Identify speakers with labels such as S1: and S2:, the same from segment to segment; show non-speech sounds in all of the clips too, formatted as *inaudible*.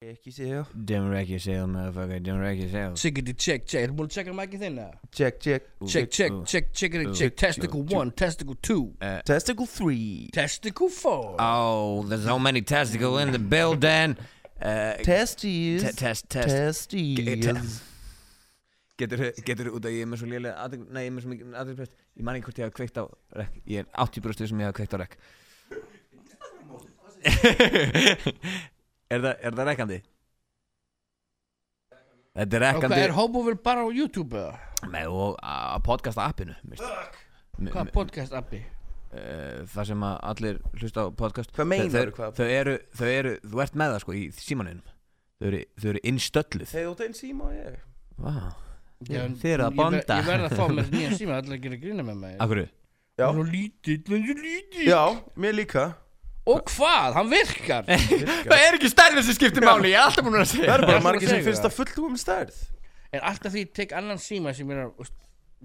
S1: Ekki séu
S2: Dim wreck yourself, motherfucker. Dim wreck yourself.
S3: Chickity check check. Þú búin að checka mækið þinn að?
S1: Check, check
S3: Check check check chickity check. Testicle 1, testicle 2,
S1: Eh. Testicle 3
S3: testicle
S1: Ah,
S3: 4.
S2: Oh, there's so many testicle in the building. Uh,
S1: Testies
S2: te- test, test.
S1: Testies
S2: Te- Getur, getur út að ég er með svo lélega aðeins, nei, ég er með svo mikið aðeins breyst. Ég man ekki hvort ég hafa kveikt á rekk. Ég er 80 brústið sem um ég hafa kveikt á rekk. *laughs* er, það, er það rekkandi? Þetta er
S3: Og hvað
S2: rekkandi
S3: er hópufur bara á YouTube eða?
S2: með og á podcast appinu.
S1: Eh,
S3: Hvað podcast appi?
S2: uh, það sem að allir hlusta á podcast
S1: Hvað meinar
S2: þau,
S1: hvað?
S2: þau, eru, þau eru, þú ert með það sko í símaninum Þau eru, þau eru innstölluð
S1: Þegar þú tegir síma og ég
S2: Vá,
S3: Já, en
S2: þið eru að
S3: ég ver-
S2: bonda.
S3: Ég verð að
S1: *laughs*
S3: fá mér nýja síma, allir að gera grína með mig
S2: akkurru
S1: Já.
S3: Hann er svo lítill, hann er svo lítill
S1: Já, mér líka
S3: Og hvað, hann virkar
S1: Eh.
S2: Það er ekki stærðin sem skiptir máli, ég er alltaf búin að
S1: Það eru
S2: segja
S1: bara
S3: ætla
S1: margir
S3: að
S1: sem
S3: segja
S1: finnst
S3: það.
S1: það fulltrúum stærð
S3: En alltaf því ég tek annan síma sem er að veist,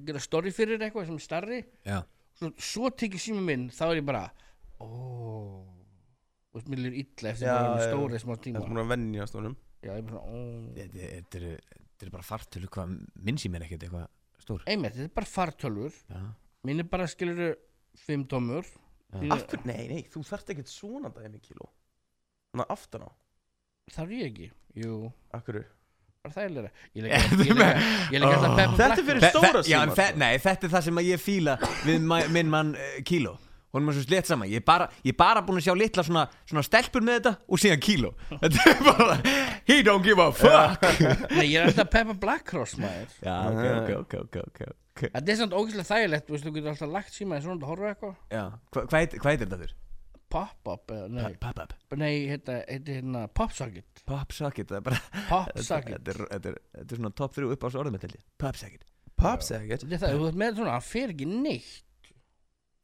S3: gera story fyrir eitthvað sem er starri
S2: Já,
S3: Svo, svo tek ég síma minn, þá er ég bara Ó Þú veist, mér lýr illa eftir
S1: Já,
S3: að það
S1: já.
S3: er stóri smá
S1: Það
S3: tíma
S1: er búin að vennja stónum
S3: Já, ég er bara svona, ó
S2: þetta þetta eru, þetta eru bara fartölu hvað minn síminn er ekkert eitthvað stór
S3: Einmitt, þetta er bara fartölfur
S2: Já,
S3: Mín er bara skilur fimm tómur Þín-
S1: Akkur, nei, nei, þú þarft ekkert svona dæmi kíló Þannig að aftan á
S3: Þarf ég ekki? Jú,
S1: Akkur
S3: bara þægilega
S2: *laughs*
S3: Ég legg
S2: Ertu
S3: ég legg-
S2: með-
S3: ég legg alltaf
S2: Ó.
S3: Peppa
S1: Þetta er
S3: Black-
S1: fyrir
S2: Þe-
S1: stóra
S2: þe- já, en
S1: símar,
S2: þe-
S1: sko.
S2: Nei, þetta er það sem að ég fíla við ma- minn mann uh, kíló Honum er svo slétt saman Ég er bara, ég er bara búin að sjá litla svona, svona stelpur með þetta og síðan kíló Þetta er bara He don't give a fuck
S3: Nei, ég er alltaf Peppa Black Cross maður
S2: Já, ok, ok, ok, ok, ok, ok.
S3: Þetta er samt ógeðslega þægilegt, þú veist, þú getur alltaf lagt síma eins og náttúrulega horfa á eitthvað
S2: Já, hva- hvað heit- hvað heitir þetta þurr?
S3: Pop-up, eða nei,
S2: Pop-up
S3: nei, þetta heitir hérna Popsocket
S2: Pop-socket, það er bara
S3: Popsocket
S2: Þetta er, þetta er, þetta er svona top 3 upp á þessu orðum þetta held ég. Pop-socket
S1: Paps ekkert
S3: Þetta er það, þú veist með svona, hann fer ekki neitt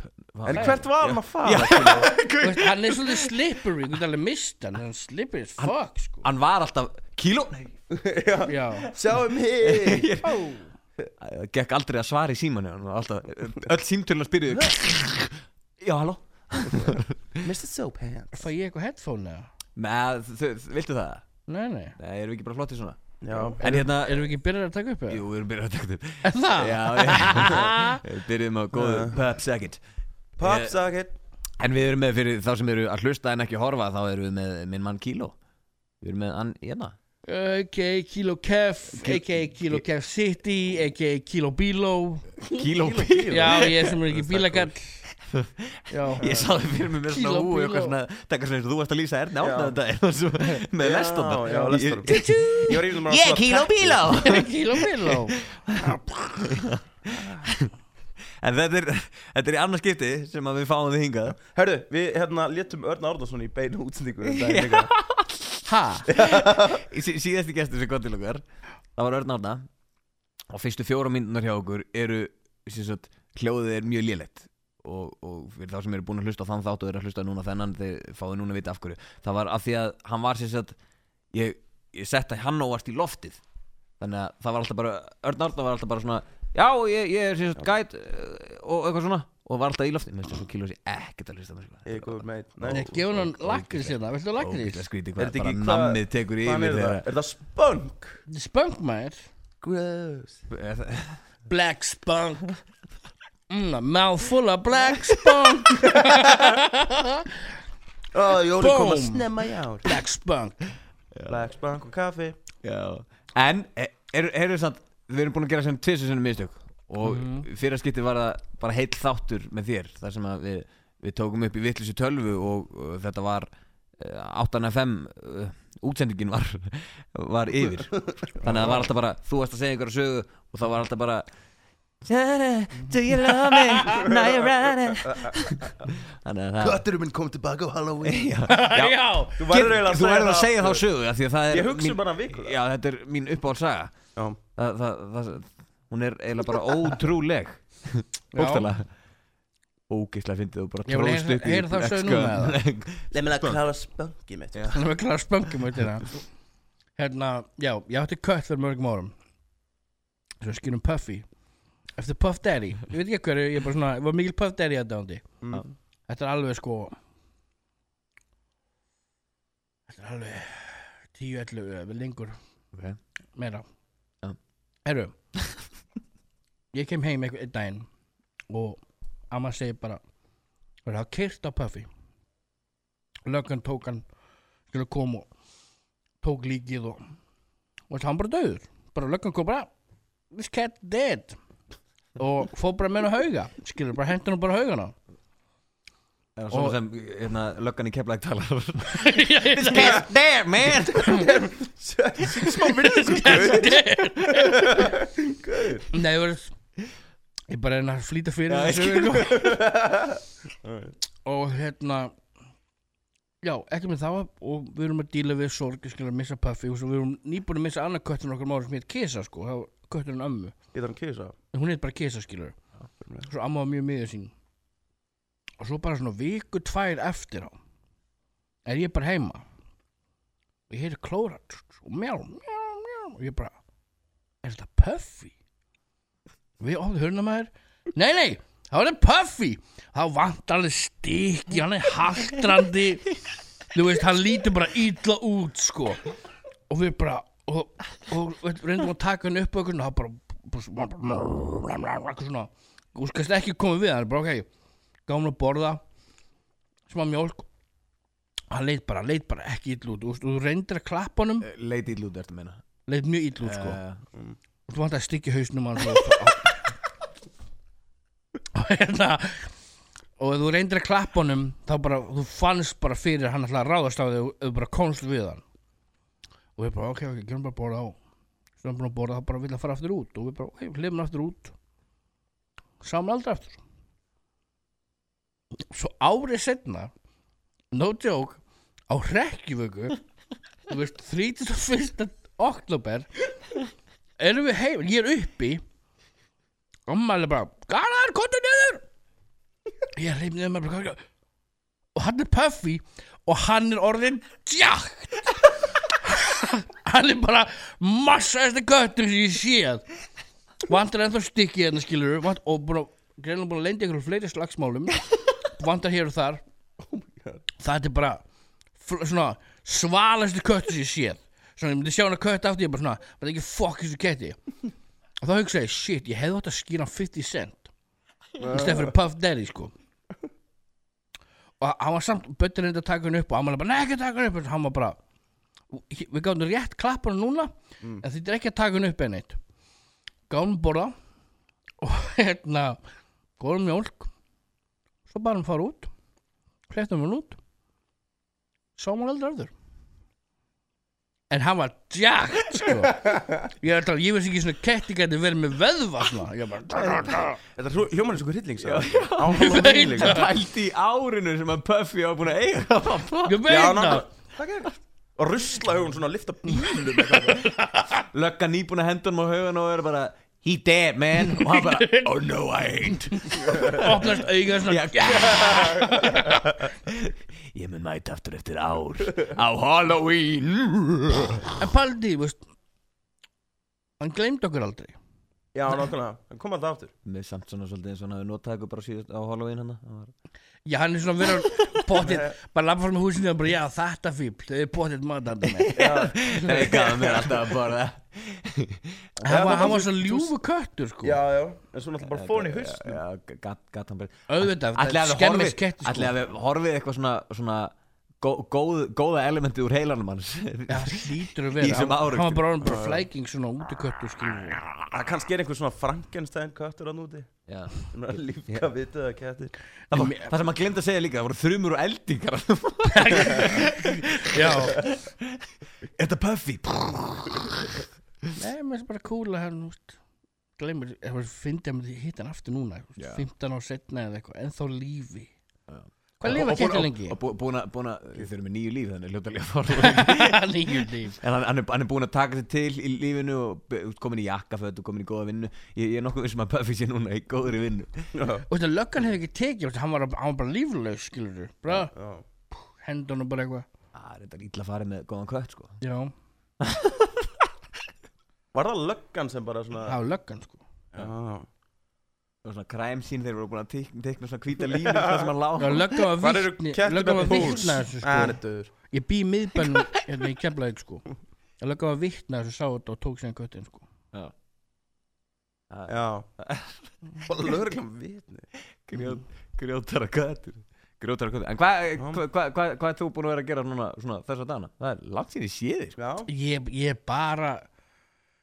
S2: Vá.
S1: En hvert var hann að
S2: Já.
S1: fara? Kíló?
S3: Þú veist, hann er svolítið slippery, þú getur alveg mist hann, hann er slippery as fuck, sko
S2: Hann var alltaf kíló *laughs* Nei,
S3: Já,
S1: Sjáum hér
S3: ó,
S2: það gekk aldrei að svara í símanu Hann var alltaf, öll símtölun að spyrja Já, halló
S1: Mr. Soaphands
S3: fæ ég eitthvað headphone eða?
S2: Með, þau, þau, viltu það?
S3: Nei, nei,
S2: Nei, erum við ekki bara flotti svona?
S1: Já,
S2: En hérna,
S3: erum við ekki byrjar að taka upp eða?
S2: jú, við erum byrjað að taka þetta
S3: Er það?
S2: Já, já, við byrjum á góðu pop second
S1: Paps ekkert
S2: En við erum með fyrir þá sem eru að hlusta en ekki horfa Þá erum við með minn mann Kíló Við erum með hann, hérna
S3: A.k.a. Kilo Kef, a.k.a. Kilo Kef City, a.k.a. Kilo Bilo
S2: Kíló Bíló
S3: Já, ég sem *laughs* er ekki bílagall Já, *laughs*
S2: Ég sá þið fyrir mig með svona
S3: Kíló
S2: ú eitthvað
S3: Bíló.
S2: svona Takk svona eins og þú varst að lýsa Erna
S1: Já.
S2: átnaðan daginn og svo Með
S1: Já,
S2: lestóna
S1: já, lestónum. Ég var yfirlega bara að svara-
S2: Ég er Kíló Bíló
S3: Kilo Bilo
S2: En þetta er, þetta er í annars skipti sem að við fáum þið hingað
S1: Herru, við hérna léttum Örn Árnason í beinu útsendingu um daginn líka.
S2: *laughs*
S3: *laughs* Ha?
S2: sí, síðasti gestur sem kom til okkar það var Örn Árna og fyrstu fjóra myndunar hjá okkur eru sem sagt, hljóðið er mjög lélegt og, og fyrir þá sem eru búin að hlusta á þann þátt og eru að hlusta núna á þennan þeir fáið núna að vita af hverju það var af því að hann var sem sagt ég, ég setta hann óvart í loftið þannig að það var alltaf bara Örn Árna var alltaf bara svona já ég, ég er sem sagt gæt eh, og eitthvað svona og var alltaf í loftið mér finnst þess að kílósi ekkert að hlusta á mig, sko.
S1: Ég er góð með Nei.
S3: Nei, gefur hann lakrís hérna, viltu lakrís?
S2: Ógeðslega skrítið
S1: Er
S2: hvað
S1: þetta
S2: bara
S1: ekki- hvað-
S2: nammið tekur
S1: Hvað
S2: yfir
S1: er það?
S2: þegar
S1: Er það spunk?
S3: Spunk maður
S1: Gross
S2: Er það-
S3: Black spunk mm, a Mouth full of black spunk
S1: Ó, Jóni kom að
S3: Boom.
S1: snemma í ár
S3: *laughs* Black spunk
S1: Black spunk og kaffi
S2: Já. En e- eru er, samt Við erum búin að gera sem tvissu sinni mistök Og
S1: Mhm.
S2: mm. fyrra skipti var það bara heill þáttur með þér Þar sem að við, við tókum upp í vitleysu tölvu Og, og þetta var uh, 8.5 uh, Útsendingin var, *laughs* var yfir Þannig að það var alltaf bara Þú varst að segja einhverja sögu Og það var alltaf bara Do you love me? Now you're running *laughs* Þannig að það
S4: Kötturinn minn kom tilbaka á Halloween
S2: Já,
S3: Já
S1: Þú
S2: Get,
S1: verður eiginlega
S2: þú verður að segja þá
S1: aftur.
S2: sögu af því að það er
S1: Ég hugsa
S2: mín-
S1: um hana vikulega.
S2: Já, þetta er mín uppáhaldsaga
S1: Já.
S2: það, það, það, Hún er eiginlega bara ótrúleg Bókstala Ógeislega fyndið og bara
S3: Ég vil heyra-
S2: tróðst upp í sko.
S3: heyra þá sögu núna,
S2: ex-
S1: Leð mér að klára spunki *laughs* mitt
S2: Já.
S3: Þannig að við klára spunkum út hérna Hérna, já, ég átti kött fyrir mörgum árum Svo skynum Puffy Eftir Puff Daddy Ég veit ekki hverju, ég er bara svona Ég var mikil Puff Daddy hérna að dándi
S1: Mm.
S3: Þetta er alveg sko Þetta er alveg 10, 11, lengur
S2: Ok
S3: meira
S2: Já.
S3: Herru *laughs* Ég kem heim einhver einn daginn og amma segir bara Það var kyrt á Puffy Löggan tók hann skilur kom og tók líkið og og hann bara döður bara löggan kom bara this cat dead og fór bara með hann á hauga skilur bara hendur hann bara á haugana
S2: *laughs* Er það svona
S3: Og-
S2: sem hérna, löggan í keflæk
S3: *laughs*
S2: talar
S3: this
S2: there man
S1: Smá virðingu
S2: *laughs*
S1: gaur. Gaur.
S3: Nei, ég var Ég bara er að flýta fyrir
S2: Já, ég skil.
S3: þessu
S1: Alright.
S3: Og hérna Já, ekki með það Og við erum að díla við sorg Ég skil að missa Puffy Og svo við erum nýbúin að missa annað köttun okkar mára sem heit Kisa sko Það var kötturinn ömmu
S1: Heitir hann Kisa?
S3: En hún heit bara Kisa skilur Svo amma var mjög miður sín Og svo bara svona viku tvær eftir á Er ég bara heima Og ég heiti Klóra Og mjá, mjá, mjá Og ég bara Er þetta Puffy? Við ofnum hörna maður Nei, nei, það var það Puffy Það vantar alveg stikki, hann er haldrandi Þú veist, hann lítur bara ítla út, sko Og við bara Og, og við reyndum að taka hann upp og okkur Og hann bara, bara, bara, bara, bara svona, Þú skast ekki komið við hann Bara, ok, gáum að borða Smá mjólk Hann leit bara, leit bara ekki ítla út Þú, veist, og þú reyndir að klappa honum
S2: Lady Lúd ertu að meina
S3: Leit mjög ítla út, sko
S2: Eh,
S3: og þú vant að stykja hausnum hann og *laughs* og hérna og ef þú reyndir að klappa honum þá bara, þú fannst bara fyrir hann ætlaði að ráðast á þig og þú bara komst við hann og við bara, ok, ok, gerum bara að borða á svo hann búin að borða, þá bara vilja að fara aftur út og við bara, ok, hlifum aftur út saman aldrei aftur svo árið setna no joke á hrekkjuvöku þú veist, 31. oktober erum við heim, ég er uppi Amma er bara Garðar, komdu niður Ég reyf niður með bara "Hvað- hvað-" Og hann er Puffy Og hann er orðin Jack Hann er bara Massaðasti göttur sem ég séð Vandar ennþá stikki hérna skilur vant, Og búin að Greinlega búin að lendi ykkur fleiri slagsmálum Vandar hér og þar Það er bara fl- Svona svalastu köttur sem ég séð Svona ég myndi sjá hann að kött átti Ég bara svona Það er ekki fokk þessu ketti Og þá hugsa ég, shit, ég hefði átt að skýra hann 50 cent Í stæð fyrir Puff Daddy, sko Og hann var samt Böttir reyndi að taka hann upp Og hann var bara, nei, ekki að taka hann upp Hann var bara, við gáðum rétt klappa hann núna En þetta er ekki að taka hann upp enn eitt Gáðum að borða Og *laughs* hérna Góðum mjólk Svo bara hann fara út Klettum hann út Sáum hann aldrei aftur En hann var jacked, sko Ég, ætla, ég veist ekki svona ketti gæti verið með veðva svona Ég bara
S1: Þetta hljóman er svo hrylling Ég
S3: veit það.
S2: Pælt í árinu sem að Puffy á búin að eiga Það var bara-
S3: Ég veit það
S1: það Og rusla hugun svona að lifta bílum
S2: Löggan íbúin að henda hann á haugan og er bara He dead man Og hann bara Oh no I ain't
S3: Opnast auga svona
S2: *laughs* Ég mun mæta aftur eftir ár Á Halloween
S3: En Paldi, veist Hann gleymd okkur aldrei
S1: Já, nákvæmlega, hann kom alltaf aftur
S2: Með samt svona svolítið eins og hann hafi notað eitthvað bara síðast á Halloween hann Það var
S3: Já, hann er svona verið bóttið Bara lappa fram í húsinu og bara Já, þetta fíbl, þau er bóttið matandi með
S2: Nei, gaf mér alltaf að borða
S3: Hann var, hann var svona ljúfu köttur, sko
S1: Já, já, en svo náttúrulega bara fór hann í hausnum
S2: Já, gat, gat hann bara
S3: Auðvitað,
S2: Ætli að við
S3: skemmist
S2: horfið
S3: ketti,
S2: Ætli
S3: sko
S2: að við horfið eitthvað svona, svona gó, góð, góða elementið úr heilanum hans
S3: Já, hlýtur að
S2: Í
S3: vera
S2: þessum
S3: Hann hann var
S2: áryktum.
S3: bara orðinn bara flæking svona úti köttur, skilur
S1: Það Ah, kannski er einhver svona Frankenstein köttur hann úti
S2: Já.
S1: sem er að lífka vitið að kettir
S2: Það, var, það sem hann glemd að segja líka, það voru þrumur og eldingar
S3: Já
S2: Þetta Puffy
S3: Nei, mér finnst bara cool að hann úst, glemur, ég var fyndi að myndi hitta hann aftur núna, þú veist,
S2: Já.
S3: 15 ár setna eða eitthvað, ennþá lífi
S2: Já.
S3: Hvað lifa kettir lengi? *laughs*
S2: Og bú- búin að, búin að, þau eru með nýju líf þannig ljóta líf En
S3: Nýju líf
S2: hann, hann, er, hann er búin að taka sig til í lífinu og be- komin í jakkaföt og komin í góða vinnu Ég, ég er nokkuð vissum að Puffy sé núna í góðri vinnu
S3: Og þetta löggan hefði ekki tekið, þú veist, hann var, hann var bara líflaus, skilur þú, bara
S1: Já
S3: hendun og bara eitthvað
S2: Það Ah, er þetta ítla farið með góðan kött sko
S3: Já,
S1: Var það löggan sem bara svona
S3: það var löggan, sko
S1: Já
S2: og svona crime scene þeir voru búin að teikna, teikna svona *laughs* hvíta línu það sem hann lá
S3: Já, löggan var
S1: Hvar eru
S3: vitni
S1: Captain
S3: Löggan var
S1: and
S3: vitna
S1: Pools?
S3: þessu
S1: Æ, Ah,
S2: Ah,
S1: hann
S3: sko
S1: er döður
S3: Ég bý í miðbænum hérna í kemlaðið sko Löggan var vitna þessu sá þetta og tók síðan köttin sko
S2: Já. Ah.
S1: Já *laughs* Og lögreglan vitni
S2: Grjót- grjótara köttur grjótara köttur en hvað hva, hva, hva, hva er þú búin að vera að gera núna svona þess að dana það er langt síðan ég sé þig sko.
S1: Já
S3: Ég, ég bara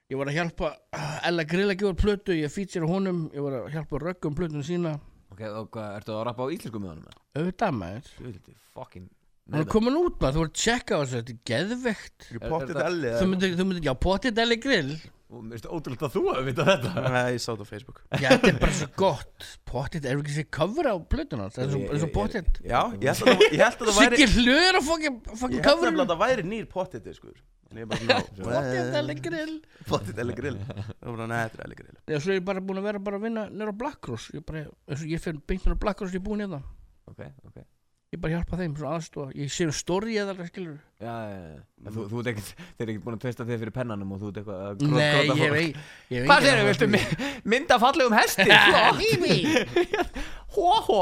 S3: Ég var að hjálpa ah, Ella Grilla gefur plötu Ég feature honum Ég var að hjálpa röggum plötun sína
S2: ok og hvað ertu að rappa á íslensku með honum eða?
S3: Auðvitað maður
S2: þú veit þetta fucking
S3: Hún er komin út maður Þú voru að checka á þessu Þetta er geðvegt
S1: Ég
S2: Er- er
S1: pottið
S2: þetta-
S1: elli
S3: Þú myndir, þú myndir, já, potið Ella Grill
S2: og mér finnst ótrúlega að þú hefur vitað þetta
S1: Nei, ég sá þetta á Facebook
S3: Já, þetta er bara svo gott Potið, er ekki sér cover á plötun hans Það er svo-
S2: Ég-
S3: er svo
S2: ég-
S3: potið
S1: Já, ég held að, ég held að það væri
S3: Siggi hlur að fokkin
S1: Ég
S3: fokkin
S1: held nefnilega
S3: cover
S1: að það væri nýr pottið sko En ég bara
S3: Potið, Ella Grill
S1: Pottið elli grill Það var neða, þetta er elli grill
S3: Já, svo er ég bara búin að vera bara að vinna nýra á Black Cross Ég, bara, eins og ég fyrir beint nýra á Black Cross, ég er búin hérna
S2: ok ok
S3: Ég bara hjálpa þeim, svona aðstofa Ég sé um story eða alveg, skilur
S2: já já já En þú, þú ert ekkert þeir eru ekkert búin að tvesta þig fyrir pennanum og þú ert eitthvað að gró-
S3: Nei,
S2: gróta
S3: ég
S2: fólk.
S3: veit ég
S2: *laughs*
S3: hef
S2: hvað
S3: engan
S2: þeir eru
S3: áhuga á
S2: viltu
S3: því.
S2: my- mynda fallegum
S3: *laughs*
S2: hesti *laughs* flott hó hó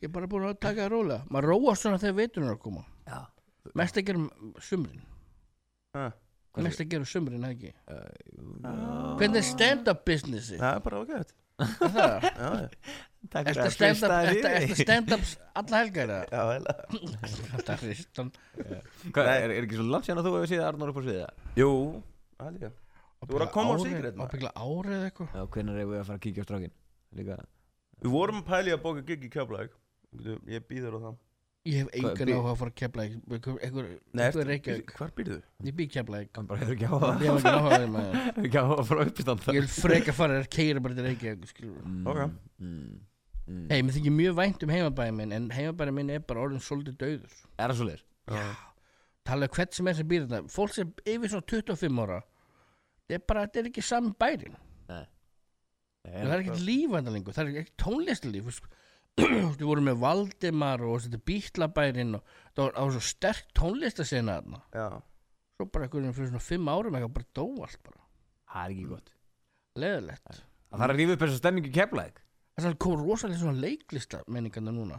S3: Ég er bara búin að taka það rólega Maður róa svona þegar veiturinn er að koma
S2: já
S3: Mest að gera um sumrin
S1: Ha,
S2: Hversu-
S3: Mest að gera um sumrin, eða ekki
S1: já.
S3: Hvernig er stand-up businessi?
S1: Það er bara ágætt
S3: Er það?
S1: Já, já.
S2: takk
S3: Ertu
S2: að
S3: stand-up
S2: treysta þér
S3: ertu-
S2: í
S3: ertu
S2: mig.
S3: stand-up alla helgar eða? *laughs*
S1: já heila.
S3: Þetta er ristan
S2: Hvað, er, er ekki svo langt sér að þú hefur séð Arnór upp á sviða?
S1: Jú Það líka Þú voru að koma á Sigrid, maður.
S3: Ábyggla árið eða eitthvað
S2: Já, hvenær erum við að fara að kíkja á strákin? Líka,
S1: Við vorum að pæli að bóka gig í Keflæk Ég býður á það
S3: Ég hef
S2: Hvað,
S3: engan
S2: bí-
S3: áhuga að fara að kepla Eitthvað
S1: ertu-
S3: er ekki
S1: Hvar býrðu?
S3: Ég býð kepla
S2: hann bara hefur ekki á að
S3: Ég hef ekki áhuga á þeim að
S2: hefur ekki á að fara uppistand
S3: Ég vil freka fara að keira bara til Reykjavík skilur.
S2: mm,
S1: Ok.
S2: mm, mm.
S3: Hei, mér þykir mjög vænt um heimabæði minn En heimabæði minn er bara orðin svolítið dauður
S2: Er það svo leir?
S1: Já
S3: Talaðu hvert sem er sem býr þetta Fólk sem er yfir svona 25 ára Það er bara, þetta er ekki sami bærin Það er ekkert lífanda lengur Það er ekki tónlistalíf *clears throat* Þú voru með Valdimar og þetta bítlabærin og það var, það var svo sterk tónlistasena þarna
S1: Já
S3: Svo bara einhverjum fyrir svona 5 árum eitthvað bara dó allt bara
S2: Það er ekki gott
S3: Leðilegt
S2: Það þarf að rífa upp þessa stemmingu keflaðið
S3: Það er komið rosalega svona leiklista menningarna núna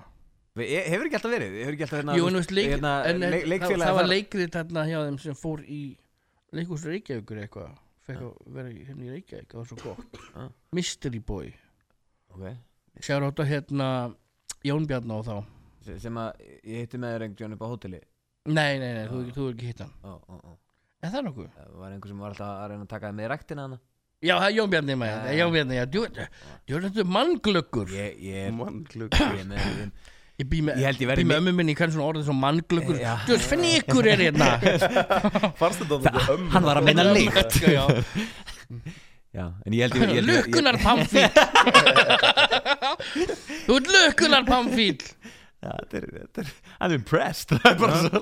S2: e- Hefur ekki alltaf verið? Hefur ekki alltaf hérna,
S3: Jú, en þú veist, leik,
S2: hérna,
S3: en, en,
S2: leik,
S3: það,
S2: leikfélagi
S3: það var
S2: þar-
S3: leikrið þarna hjá þeim sem fór í leikhús Reykjavíkur eitthvað fekk að vera í- hérna í Reykjavík, það var svo gott
S2: Ah.
S3: Mystery Boy
S2: Ok.
S3: sér átt að hérna Jón Bjarná og þá
S2: Se- Sem að ég hitti með þér einhvern upp á hóteli
S3: Nei, nei, nei, þú, þú er ekki hitt hann
S2: Ó, ó, ó.
S3: Er það nokkuð?
S2: Það var einhver sem var alltaf að reyna að taka þig með í ræktina hana
S3: Já, það er Jón Bjarni maður, það er Jón Bjarni, já, djú- djú er þetta mannglöggur
S2: Ég, ég,
S1: Mannklug
S2: ég, er með- ég,
S3: Ég bý með,
S2: Ég held ég verði
S3: bý með
S2: mi-
S3: ömmu minni, ég kann svona orðið svona mannglöggur
S2: Já.
S3: Djú, fnikur er hérna
S2: *laughs*
S1: Fannst þetta þetta ömmu
S2: hann var að meina lykt.
S3: Já, já.
S2: Já, en ég held ég- ég held ég- ég-
S3: Lukkunar
S2: *laughs*
S3: pamfíl Þú ert lukkunar pamfíl
S2: Já, þetta er, þetta er, I'm impressed *laughs* Það er bara svo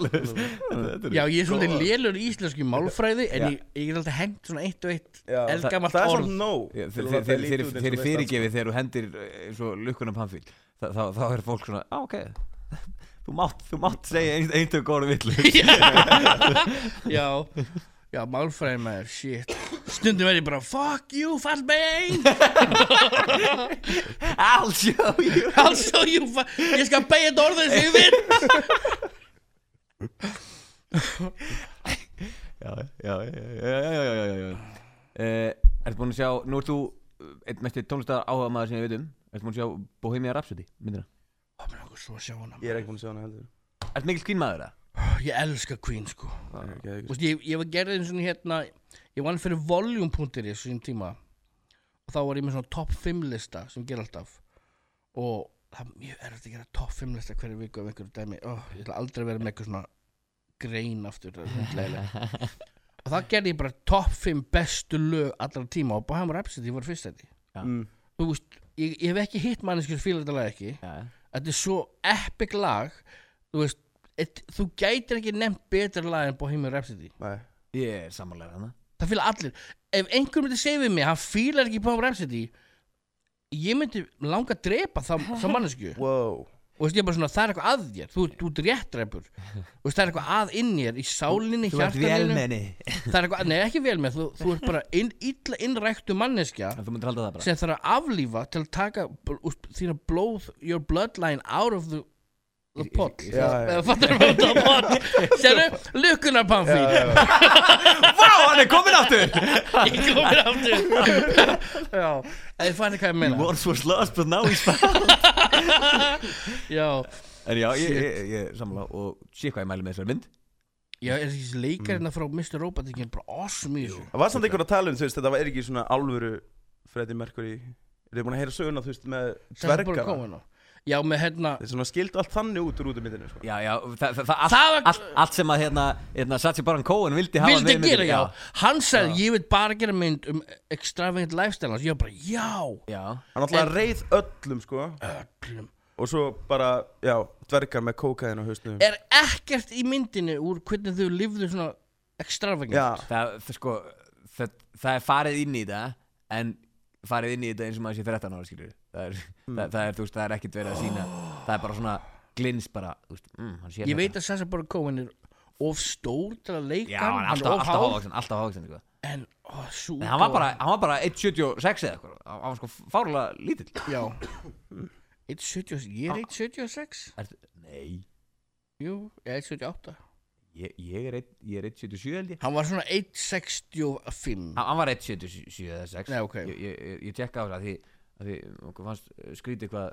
S3: Já, ég er svolítið lélur í íslensku málfræði En ég, ég er alltaf hengt svona eitt og eitt
S1: Já.
S3: Eldgamalt
S1: Það er
S3: orð *laughs*
S1: samt nóg til að láta lítið út eins og sko.
S2: Þeir eru
S1: veist
S2: fyrirgefið þegar þú hendir eh, eins og lukkunum pannfíl þá, þá, þá er fólk svona, á ok *laughs* Þú mátt, þú mátt segja ein, eintöku góru villu
S1: *laughs*
S3: Já, já, málfræði maður, shit Stundum er ég bara, fuck you, fallbein
S2: I'll show you
S3: *laughs* Also, you, fa- ég skal beigja þetta orðið sem ég vinn
S2: Já, já, já, já, já, já, já, já, já. Uh, Ertu búin að sjá, nú ert þú eh, einn mest tónlistar áhuga maður sem ég veit um Ertu búin að sjá Bohemia Rhapsody, myndina
S3: Ó, mér langar svo að sjá hana
S1: Ég er ekki búin að sjá hana heldur
S2: Ertu mikill skínmaður það?
S3: Ég elska Queen, sko
S1: Það er ekki-
S3: Þú veist, ég, ég var gerðið eins og hérna ég vann fyrir volume.ir í þessum tíma og þá var ég með svona top 5 lista sem ég ger alltaf og það er mjög erfitt að gera top 5 lista hverju viku af einhverju dæmi oh, ég ætla aldrei að vera með eitthvað svona grein aftur það er hundleiðilegt. og það gerði ég bara top 5 bestu lög allra tíma og Bahama Rhapsody var fyrst þetta
S2: Já.
S1: Mm.
S3: þú veist, ég, ég hef ekki hitt manneskjur fílar þetta lag ekki
S2: Já, já.
S3: þetta er svo epic lag þú veist, et, þú gætir ekki nefnt betra lag en Bohemian Rhapsody
S1: Nei
S2: Ég er samanlega hana
S3: Það fíla allir Ef einhver myndi segja við mig Hann
S2: *laughs*
S3: fílar ekki Bob Rhapsody Ég myndi langa að drepa það, það mannesku
S1: Wow
S3: og veist, ég er bara svona, það er eitthvað að þér þú, þú ert réttræpur og veist, það er eitthvað að inn í þér, í sálinni,
S2: Þú ert
S3: hjartaninu
S2: velmenni
S3: það er eitthvað, nei ekki vel með þú, þú ert bara inn, illa innræktu manneskja
S2: En Þú myndir halda það bara
S3: sem þarf að aflífa til að taka bl- úst, þína blóð, your bloodline out of the, the pot
S1: Já, já.
S3: eða fattar við the pot sérðu, lukkunar pamfi
S2: Vá, hann er komin aftur *laughs*
S3: ég komið aftur já, eða ég fann ekki hvað ég meina
S2: Once was lost but now he's found
S3: já,
S2: En já, ég, ég, ég samla og sé hvað ég mæli með þessari mynd
S3: já, er þessi
S2: Mm.
S3: leikarinn að frá Mr. Robot ekki bara awesome í þessu
S1: Það var samt einhver að tala um, þú veist, þetta var er ekki svona alvöru Freddy Mercury Þið er búin að heyra söguna, þú veist, með
S3: Samt bara
S1: dvergana
S3: komin á. já, með hérna
S1: Þeir svona skildu allt þannig út úr út um myndinu, sko
S2: Já, já, það, það, það, allt,
S3: Það var-
S2: allt, allt sem að hérna, hérna Satsi Baran Cohen vildi hafa
S3: vildi
S2: með í
S3: gera,
S2: myndinni,
S3: já, hann sagði ég vil bara gera mynd um extravagant lifestyle hans, ég var bara, já
S2: Já,
S1: Hann alltaf reið öllum, sko
S3: öllum
S1: Og svo bara, já, dvergar með kókaðin á hausnum
S3: er ekkert í myndinni úr hvernig þau lifðu svona extravagant
S1: Já,
S2: það, það sko það, það er farið inn í þetta en farið inn í þetta eins og maður sé 13 ára skilur það er,
S3: Hmm.
S2: það, það er, þú veist, það er ekkit verið að sína það er bara svona glins bara, þú veist, mm, hann sé
S3: ég veit að Sasha Baron Cohen er of stór til að leika
S2: Já, hann er
S3: hann
S2: alltaf,
S3: of
S2: alltaf
S3: hár,
S2: hávaksin, alltaf hávaksin sko.
S3: en ó, sú
S2: En hann var bara, hann var bara 1.76 eða eitthvað Hann hann var sko fárlega lítill
S3: já *coughs* 1.70 ég er 1.76
S2: Ertu, Nei,
S3: jú, ég er 1.78
S2: ég, ég er einn- ég er 1.77 held ég
S3: hann var svona 1.65
S2: Hann hann var 1.77 eða 6
S3: Nei, ok.
S2: Ég, ég, ég- ég tekka á það því, að því okkur fannst eh, skrítið hvað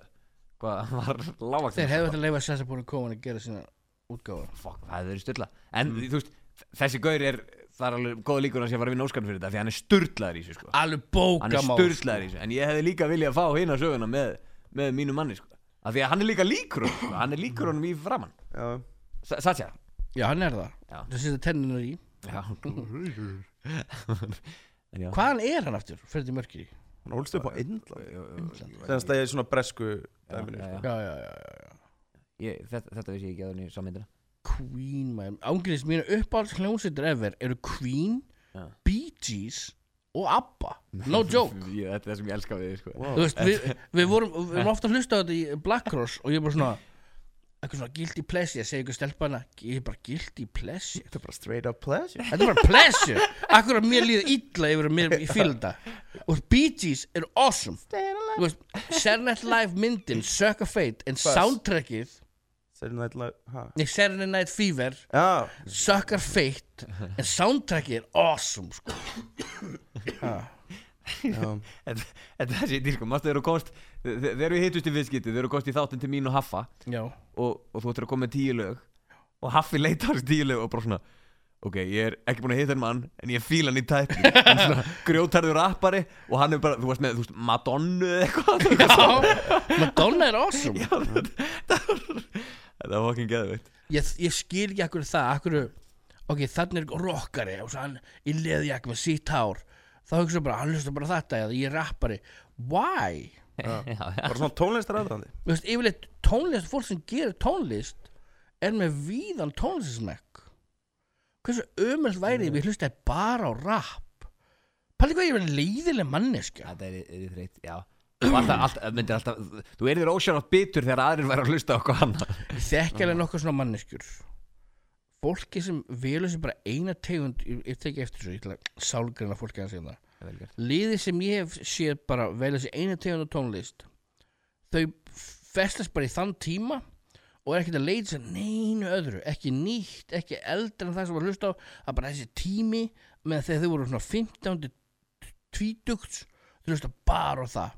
S2: hvað hann var lágvaksin
S3: þeir hefðu þetta leifað Sasha Baron Cohen að gera sína útgáfa
S2: Fuck, það hefði verið styrla En þú veist, þessi gaur er Það er alveg góð líkur að sé að fara að vinna óskarn fyrir þetta Því hann er styrlaður í þessu sko
S3: alveg
S2: Hann er
S3: bókamál
S2: styrlaður í þessu En ég hefði líka viljað að fá hina söguna með, með mínu manni sko Af því að hann er líka líkur honum sko. Hann er líkur honum í framann
S1: já
S2: Sa- Satja
S3: já, hann er það
S2: Já.
S3: það setja tenninu í
S2: Já En já
S3: hvaðan er hann aftur, Freddy Mercury
S1: Hann holst upp á Indland
S3: já,
S1: Þegar það er svona bresku dæminu,
S2: já,
S1: sko
S2: já.
S3: já, já, já.
S2: Ég, þetta, þetta vissi ég ekki að hann í sammyndina
S3: Queen maður. ángriðist mínu uppáhalds hljómsveitir ever eru Queen,
S2: Já.
S3: Bee Gees og ABBA
S2: *laughs*
S3: no joke
S2: Ég- Þetta er það sem ég elska við þig, sko
S1: Wow.
S3: Þú veist,
S2: *laughs*
S3: við, við vorum, við vorum ofta að hlusta á þetta í Black Cross og ég er bara svona eitthvað svona guilty pleasure, ég segi ykkur stelpana ég er bara guilty pleasure
S1: Þetta er bara straight up pleasure
S3: þetta er bara pleasure, akkur að mér líður illa yfir að mér í fylgda og Bee Gees eru awesome Þú veist, Saturday Night Live myndin Suck a Fate en soundtrackið
S1: Saturday Night Live, ha
S3: nei, Saturday Night Fever
S1: Já,
S3: Sucker Fate en soundtrackið er awesome sko.
S1: já
S2: Þetta þetta er þessi dýrkum Mastu þeir eru kost Þeir eru hittust í viðskipti Þeir eru kost í þáttin til mín og Haffa
S3: já,
S2: og, og þú ættir að koma með tíu lög og Haffi leit á þessi tíu lög og bara svona ok, ég er ekki búin að hitta hann mann en ég fíla hann í *laughs* tætti grjótarður rappari og hann er bara, þú veist með þú veist, Madonna eða *laughs* eitthvað
S3: Madonna er awesome
S2: þetta var fucking geðveikt
S3: ég, ég skil ekki akkur það akkur, ok, þannig er rockari og svo hann í leðjakk með sítt hár þá hugsa bara, hann hlusta bara þetta eða ég er rappari, why?
S1: Bara svona tónlistar aðrandi
S3: Þú veist, yfirleitt tónlist, fólk sem gerir tónlist er með víðan tónlistismekk hversu ömjöld væri ef ég hlustaði bara á rap pæli hvað ég verið leiðileg manneskja
S2: þetta er, er, er þreitt, *clears throat* já og alltaf, alltaf, myndir alltaf þú erður ósjánátt bitur þegar aðrir væri að hlusta á okkur hann
S3: Ég þekki alveg nokkuð svona manneskjur Fólki sem velur sér bara eina tegund Ég, ég teki eftir svo, ég ætla að sálgreina hérna. fólki að segja það Liði sem ég hef séð bara velur sér eina tegund á tónlist Þau festast bara í þann tíma Og er ekkert að leita sér neinu öðru Ekki nýtt, ekki eldra en það sem var hlust á Það er bara þessi tími Með þegar þau voru svona 15 til 20 Þau hlusta bara á það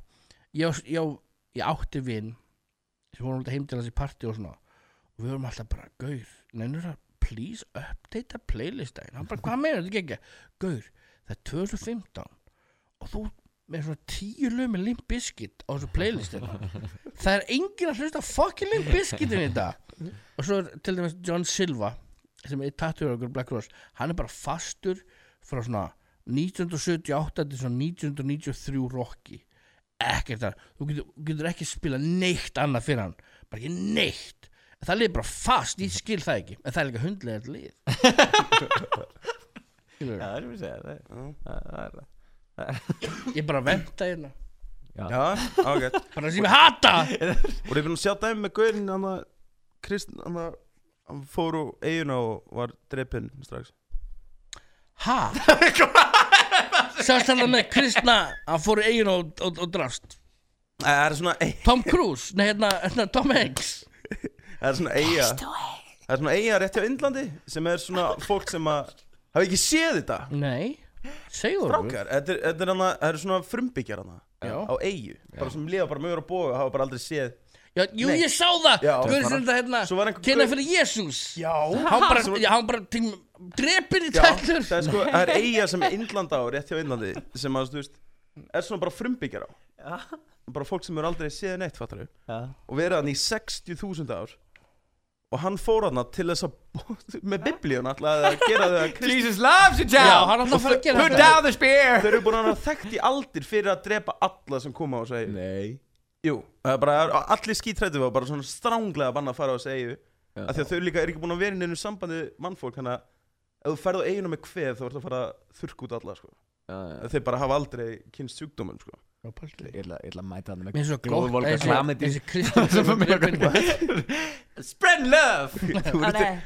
S3: Ég, á- ég, á- ég átti vinn sem vorum alltaf heim til hans í partí og svona og við vorum alltaf bara, Gaur, nennur það please update að playlistæðin hann bara, hvað meina þetta ekki Gaur, það er 2015 og þú með svona tíu lög með Limp Bizkit á þessu playlistinu það er enginn að hlusta á fucking Limp Bizkitin í þetta og svo er til dæmis John Silva sem er tattúr okkur Black Cross hann er bara fastur frá svona 1978 til svona 1993 rocki ekkert að þú getur, getur ekki spila neitt annað fyrir hann bara ekki neitt það liður bara fast, ég skil það ekki en það er líka hundlega lið Skilurðu?
S2: það er sem ég segja það er, það er, það er
S3: ég bara venta hérna
S1: *laughs* Já, ágætt
S3: Bara sem ég hata
S1: Og ég er búinn að sjá dæmi með gaurin Hann að Kristn Hann að Hann fór úr eiguna og var drepinn strax *laughs*
S3: Ha? Sást hann með Kristna Hann fór í eigin og, og, og drafst
S1: Æ, Það er svona ei-
S3: Tom Cruise, nei hérna, hérna Tom Hanks
S1: Það er svona eiga Það er svona eiga rétt hjá Indlandi Sem er svona fólk sem að Hafa ekki séð þetta
S3: Nei, segjur
S1: Frákar Þetta er, þetta er hann að Það eru svona frumbyggjar hann
S3: Já.
S1: Á eigu Bara sem lifa bara mögur og boga Hafa bara aldrei
S3: *laughs*
S1: séð
S3: Já, jú,
S1: Nei.
S3: ég sá það
S1: Já.
S3: Guður sem þetta hérna
S1: Svo var einhver
S3: Kynna
S1: gaur-
S3: fyrir Jésús
S1: Já
S3: Hann bara,
S1: Svo-
S3: já, hann bara til, drepin í
S1: Já,
S3: tællur
S1: það er sko, það er eiga sem er Indland á, rétt hjá Indlandi sem að, þú veist, er svona bara frumbyggjar á bara fólk sem eru aldrei séð neitt, fattar og verið hann í 60.000 ár og hann fór hann til þess að *laughs* með biblíun alltaf að gera þau að
S3: *laughs*
S1: kristna
S2: Jesus loves you
S3: Já,
S2: child
S3: hann ætlaði að fara að gera
S2: Put down the
S1: þau
S2: spear
S1: eru búin að vera þekkt í aldir fyrir að drepa alla sem koma á þessu eigu
S2: Nei
S1: Jú, það er bara, allir skítrættu var bara svona stránglega að banna að fara á þessu eigu
S2: Já.
S1: af því að þau líka er ekki búin að vera inn í neinu sambandi við mannfólk, þannig að ef þú ferð á eiginu með kveð þá ertu að fara að þurrka út alla sko.
S2: Ég
S1: þeir bara hafa aldrei kynst sjúkdómum sko.
S3: Mér
S2: ætla ég ætla að mæta hann
S3: er svo glótt
S2: Glóðvolga klamið
S3: Þessi
S1: *laughs*
S3: Kristna
S2: *laughs* Spread love Þú ert-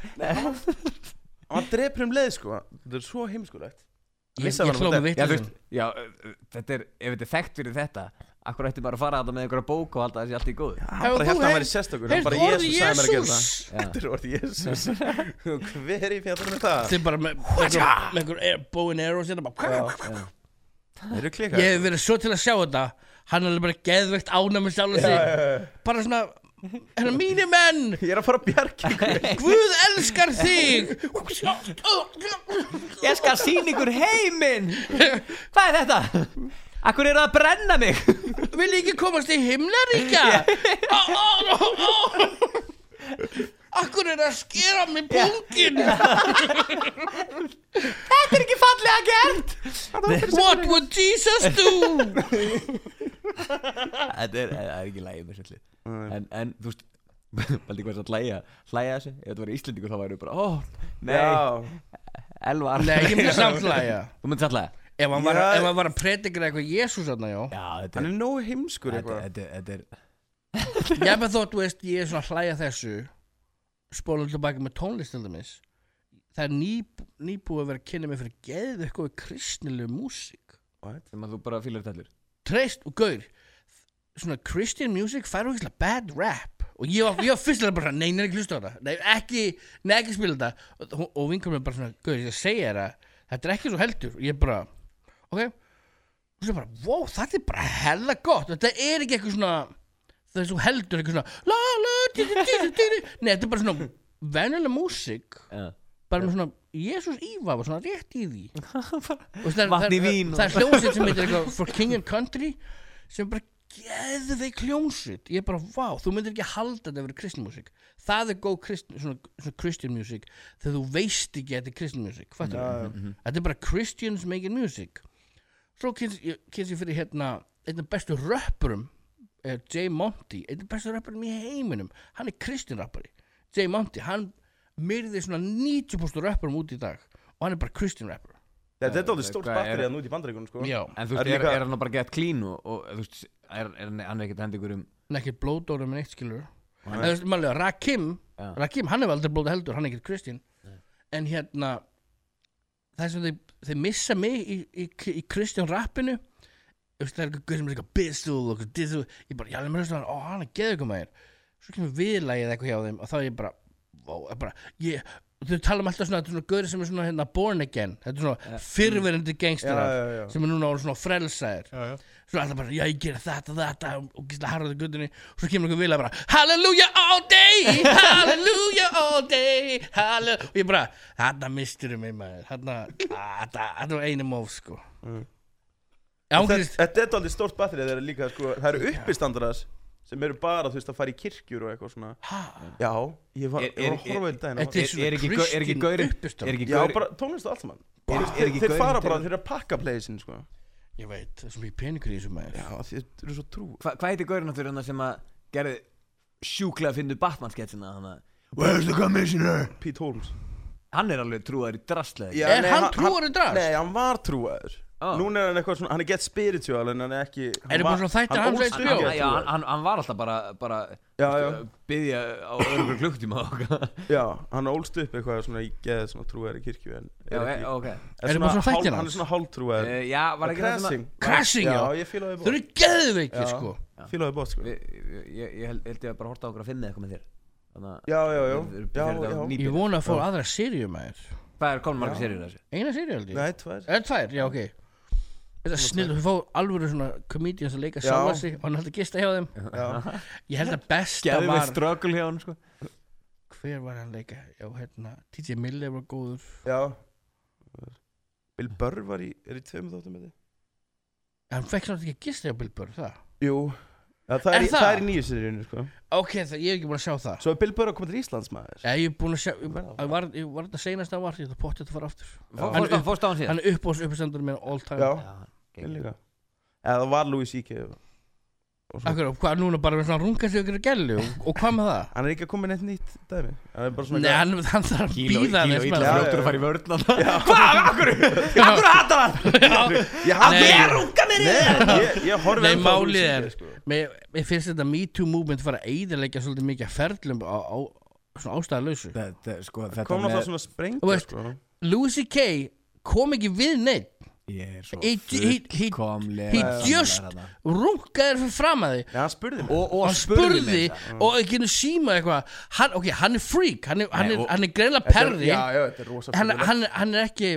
S1: og *laughs* hann drepur um leið sko. þetta er svo heimskulegt
S3: Ég,
S1: Vissi að
S3: ég
S1: hann
S3: hló
S1: var
S3: með
S2: Já, þú
S3: vitlisum
S2: veist, já, uh, þetta er, ef þetta er þekkt fyrir þetta Akkur ætti bara að fara að þetta með einhverja bók og halda þessi allt í góð
S1: hann
S3: Hefur
S1: bara
S3: þú
S1: held að hann
S3: heyrt-
S1: væri sérstakur hann
S3: Heyrðu
S1: bara
S3: orðið
S1: Jésús sagði mér að gera það
S3: Jésús
S1: þetta er orðið Jésús *laughs* og hver í fjallar með það
S3: Þetta er bara með með einhver- með einhver air- bow and arrows hérna bara
S1: þeir eru
S3: Ég
S1: klikað
S3: hef verið svo til að sjá þetta Hann er alveg bara geðveikt ánæmi sjálf sig Bara svona Hérna mínir menn
S1: ég er að fara að bjarga ykkur.
S3: Guð elskar þig
S2: Ég skal sína ykkur heiminn Hvað er þetta? Akkur eru að brenna mig
S3: Vil ég ekki komast í himnaríkja Á, á, á, á. Akkur er að skera mig bungin
S2: Þetta er ekki fallega gert
S3: What would Jesus do
S2: Þetta er, það er ekki lægið með svolítið en, en, þú veist Valdi hvað þess að hlæja, hlæja þessu Ef þetta var í Íslendingu þá væri bara, ó, nei
S1: já
S2: Elvar
S3: Nei, ég myndi samtlæja
S2: Þú myndi samt hlæja
S3: Ef hann var,
S1: Já.
S3: að- ef hann var að predikra eitthvað Jésús þarna, já
S2: Já, þetta
S1: hann
S2: er,
S1: er nógu heimskur
S2: þetta,
S1: eitthvað
S2: þetta, þetta er
S3: Ég með þótt, þú veist, ég er svona að hlæja þessu Spólum tilbaka með tónlist til dæmis Það er ný, nýbúið að vera að kynna mig fyrir geðu eitthvað kristnilegu músík
S2: Sem að þú bara fýlar þetta allir
S3: Treyst og gaur Svona Christian music fær okkur bad rap Og ég var, ég var fyrst að bara Nei, neina ekki hlusta á þetta Nei, ekki, nei, ekki spila þetta Og, og vinkum er bara svona Gaur, ég segja þér að Þetta er ekki svo heldur Og ég bara Ok Og svo bara Wow, þetta er bara hella gott Þetta er ekki eitthvað svona Það er svo heldur Eitthvað svona La, la, di, di, di, di, di. Nei, þetta er bara svona Venjulega músík
S2: Já.
S3: Bara með svona Jésús Íva var svona rétt
S2: *laughs*
S3: í því Og það er-
S2: Vatn í
S3: það er-
S2: vín og-
S3: Það er hljómsveit sem heitir eitthvað For King and Country sem er bara geðveik hljómsveit Ég er bara, vá, þú myndir ekki halda þetta að vera kristinmusik Það er góð kristin, svona, svona Christian music þegar þú veist ekki að þetta er Christian music Fattar
S1: Já,
S3: við?
S2: Mhm.
S3: Þetta er bara Christians making music Svo kynst ég, kynst ég fyrir hérna einn af bestu röppurum eh, Jay Monty, einn af bestu röppurum í heiminum Hann er Christian rappari Jay Monty, hann myrði svona 90% röppurum út í dag og hann er bara Christian rappur
S1: þetta er alveg stórt
S2: Hvað er-
S1: batteri að núti í bandaríkunum sko
S3: Já,
S2: En
S1: Er
S2: þú veist, er,
S1: líka-
S2: er hann bara gett clean og, og þú veist, er, er hann- hann er ekkert hendur ykkur um
S3: en ekki blóðdórum en eitt skilur en þú veist, mannlega, Rakim
S2: Já.
S3: Rakim, hann hefur aldrei blóða heldur, hann er ekkert Kristín en hérna það sem þeir, þeir missa mig í, í, í Kristján rappinu þú veist, það er eitthvað gaur sem er eitthvað bisul og eitthvað disul, ég bara, já, ég mér hann, ó, hann er geðu eitthvað maður svo kemur viðlægið eitthvað hjá þeim og þá er ég bara, ó, er bara ég, þau tala um alltaf svona, þetta er svona gauri sem er svona hérna, born again, þetta er svona fyrrverandi gangsterar
S1: já, já, já.
S3: sem er núna orðin svona frelsaðir já, já. svo alltaf bara, já ég gera þetta, þetta og gísla harðaði guttunni svo kemur einhver vilja bara, hallelujah all day hallelujah all day hallel og ég bara, þarna misturum mig maður þarna, ah, þetta þetta var einu móf sko ángurist,
S1: Mm. þetta er alveg stórt batteri þegar líka sko það eru uppistandaras sem eru bara þú veist að fara í kirkjur og eitthvað svona já ég var,
S2: Er-
S1: ég var
S2: er-
S1: að horfa í daginn á-
S3: þetta
S2: Er,
S3: er svona
S2: er ekki gau- er ekki
S3: Kristín
S2: gaurinn
S3: uppistand.
S2: Er ekki
S1: Já,
S2: gaurinn
S1: bara tónlist og allt saman
S2: Er-
S1: Þeir-
S2: er ekki
S1: Þeir
S2: gaurinn
S1: fara
S2: til-
S1: bara, þeir eru að pakka pleysin sko.
S3: ég veit, það er svo mjög peningur í þessu maður
S1: Já, þeir eru svo trú
S2: Hva, Hvað heitir gaurinn áttur hann sem að gerði sjúklega að finna Batman sketsina hann að Where's the commissioner?
S1: Pete Holmes
S2: Hann er alveg trúar í drastlega
S3: Er hann trúaður í drasl?
S1: Nei, hann var trúaður
S2: Ah.
S1: Núna er hann eitthvað svona, hann er gett spiritual en hann er ekki hann
S3: Eru
S1: var-
S3: bara svona þættir
S1: hann
S3: hans
S1: ólst
S3: veit
S1: upp í að
S3: bjór?
S2: Já,
S1: trúa.
S2: hann, hann, hann var alltaf bara, bara
S1: Já, já.
S2: uh, Byðja á öðrugur klukktíma og eitthvað.
S1: Já, hann ólst upp eitthvað svona í geð svona trúar í kirkju en
S2: *laughs* Já,
S1: er
S2: e-
S1: ekki,
S2: ok
S1: en
S3: Eru bara svona
S1: hál-
S3: þættir
S1: Hann
S3: hans?
S1: er svona háltrúar
S2: Eh, Já, var ekki það svona
S1: Crashing
S3: Crashing, já.
S1: Já, ég fílaði
S3: Þau
S1: bótt
S3: eru geðveikir
S1: Já.
S3: sko
S1: Fílaði bótt sko
S2: Við- Ég, ég, ég held held ég að bara horta á okkur að finna eitthvað með þér Þannig
S1: Já, já, já
S2: Þeir-
S1: Já,
S2: þeir-
S1: já
S2: ný-
S3: Ég vona að fór aðra sirju maður
S2: að hvað er komin margar serið þessu?
S3: Eina sirju held ég
S1: Nei, tvær
S3: Er tvær, já ok Þetta er snill, þú fór alvöru svona komedians að leika
S1: Já.
S3: sjálfa sig og hann held að gista hjá þeim *laughs*
S1: Já,
S3: Ég held að besta
S2: Gæði með
S3: var
S2: ströggul hjá hann sko
S3: Hver var hann að leika? Já, hérna, TJ Miller var góður
S1: já Bill Burr var í, er í tveimur þáttum með
S3: Hann fekk samt ekki að gista hjá Bill Burr, það
S1: þið Jú Já, það
S3: Er
S1: er, í-
S3: það?
S1: það er í nýju seríunni sko
S3: Ok, það, ég er ekki búin að sjá það
S1: Svo er Bill Burr að koma til Íslands maður
S3: Já, ég er búin að sjá, ég,
S1: Verða það.
S3: ég var, ég var þetta seinast að var, ég það potti þetta fara aftur
S2: Fó-
S1: Já.
S2: fórst á- Fórst á hann síðan?
S3: Hann er upp á þessu uppstandunum minn all time
S1: Já,
S2: Já,
S1: ég
S2: geggjað.
S1: líka Eða það var Louis C.K. og- og svona.
S3: Akkur, hvað núna bara með svona runga sig ykkur að gellu og, og hvað með það?
S1: Hann er ekki að koma með neitt nýtt dæmi Hann er bara svona
S3: Nei, hann, hann þarf að
S2: Kíló,
S3: býða
S2: kíló,
S3: þess
S2: illa
S1: Já,
S3: með það
S1: já.
S2: fljóttur að fara í vörðna Hvað, akkur, akkur hattar hann?
S1: Ég hafði
S3: Nei.
S2: Ég runga mér í það
S1: Nei, ég, ég horfi
S3: Nei,
S1: ennþá á
S3: málið
S1: Louis
S3: er-
S1: CK, sko.
S3: Mér, mér finnst þetta Me Too movement fara að eyðilegja svolítið mikið að ferlum á, á svona ástæðalausu
S2: Þetta, sko,
S1: Kom
S2: þetta
S1: náttúrulega
S2: með
S1: svona
S3: Þú
S1: sprengja
S3: veist-
S1: sko.
S3: Louis C.K. kom ekki við neitt
S2: Ég er svo
S3: He- he- he-
S2: fullkomlega
S3: he
S2: sammála
S3: just-
S2: þarna.
S3: rungaði fyrir fram að því
S1: Nei, hann spurði mig
S2: og, og
S3: og hann spurði
S2: Mm.
S3: og ekki henni síma eitthvað hann, ok, hann er freak, hann er, hann
S2: Nei,
S3: er,
S2: og-
S3: hann er greinlega perri
S1: Já,
S3: hann,
S1: já, þetta er rosa
S3: hann,
S1: skemmtilegt.
S3: er- hann er ekki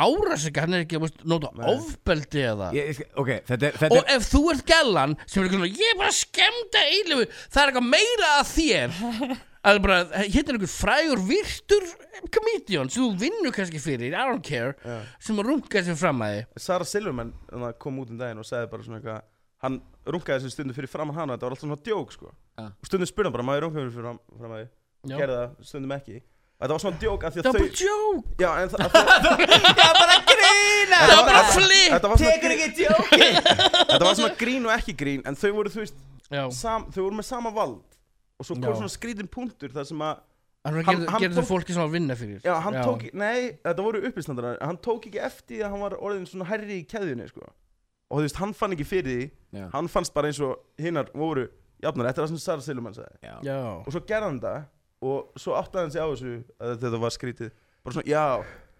S3: árasika, hann er ekki þú veist, nota ofbeldi eða
S2: ég, ég- ok, þetta er, þetta
S3: Og
S2: er
S3: ef þú ert gellan sem er eitthvað svona, ég er bara að skemmta eilifu það er eitthvað meira að þér
S2: *laughs*
S3: að bara, hérna er einhver frægur virtur komedian sem þú vinnur kannski fyrir, I don't care sem að runga sér fram að þið
S1: Sara Silverman hérna, kom út um daginn og sagði bara svona eitthvað Hann rungaði þessu stundu fyrir framann hana Þetta var alltaf svona djók sko
S2: Já.
S1: Og stundum spurði hann bara, maður rungaði fyrir fram, fram að
S3: Já.
S1: því Gerði það, stundum ekki Og þetta var svona djók af því
S3: það
S1: að
S3: var bara
S1: þau
S3: joke,
S1: Já, en
S3: *laughs*
S1: það að þau-
S2: Það er bara að grína
S3: það var bara
S1: þetta-
S3: flip
S1: Þetta var svona
S2: Tekur
S1: grín-
S2: ekki djóki
S1: *laughs* þetta var svona grín og ekki grín En þau voru, þú veist,
S3: já,
S1: sam, þau voru með sama vald Og svo kom
S3: Já.
S1: svona skrítin punktur þar sem að
S3: hann
S1: Hann- hann
S3: gerði
S1: tók-
S3: þau fólki sem var að vinna fyrir
S1: Já, hann tók, nei, þetta voru upplýslandarar Hann tók ekki eftir því að hann var orðin svona herri í keðjunni, sko Og þú veist, hann fann ekki fyrir því
S2: Já.
S1: Hann fannst bara eins og hinnar voru Jafnar, þetta var svona Sara Silverman sagði
S2: Já,
S3: já,
S1: Og svo gerði hann það Og svo áttaði hann sig á þessu að þetta var skrítið Bara svona, já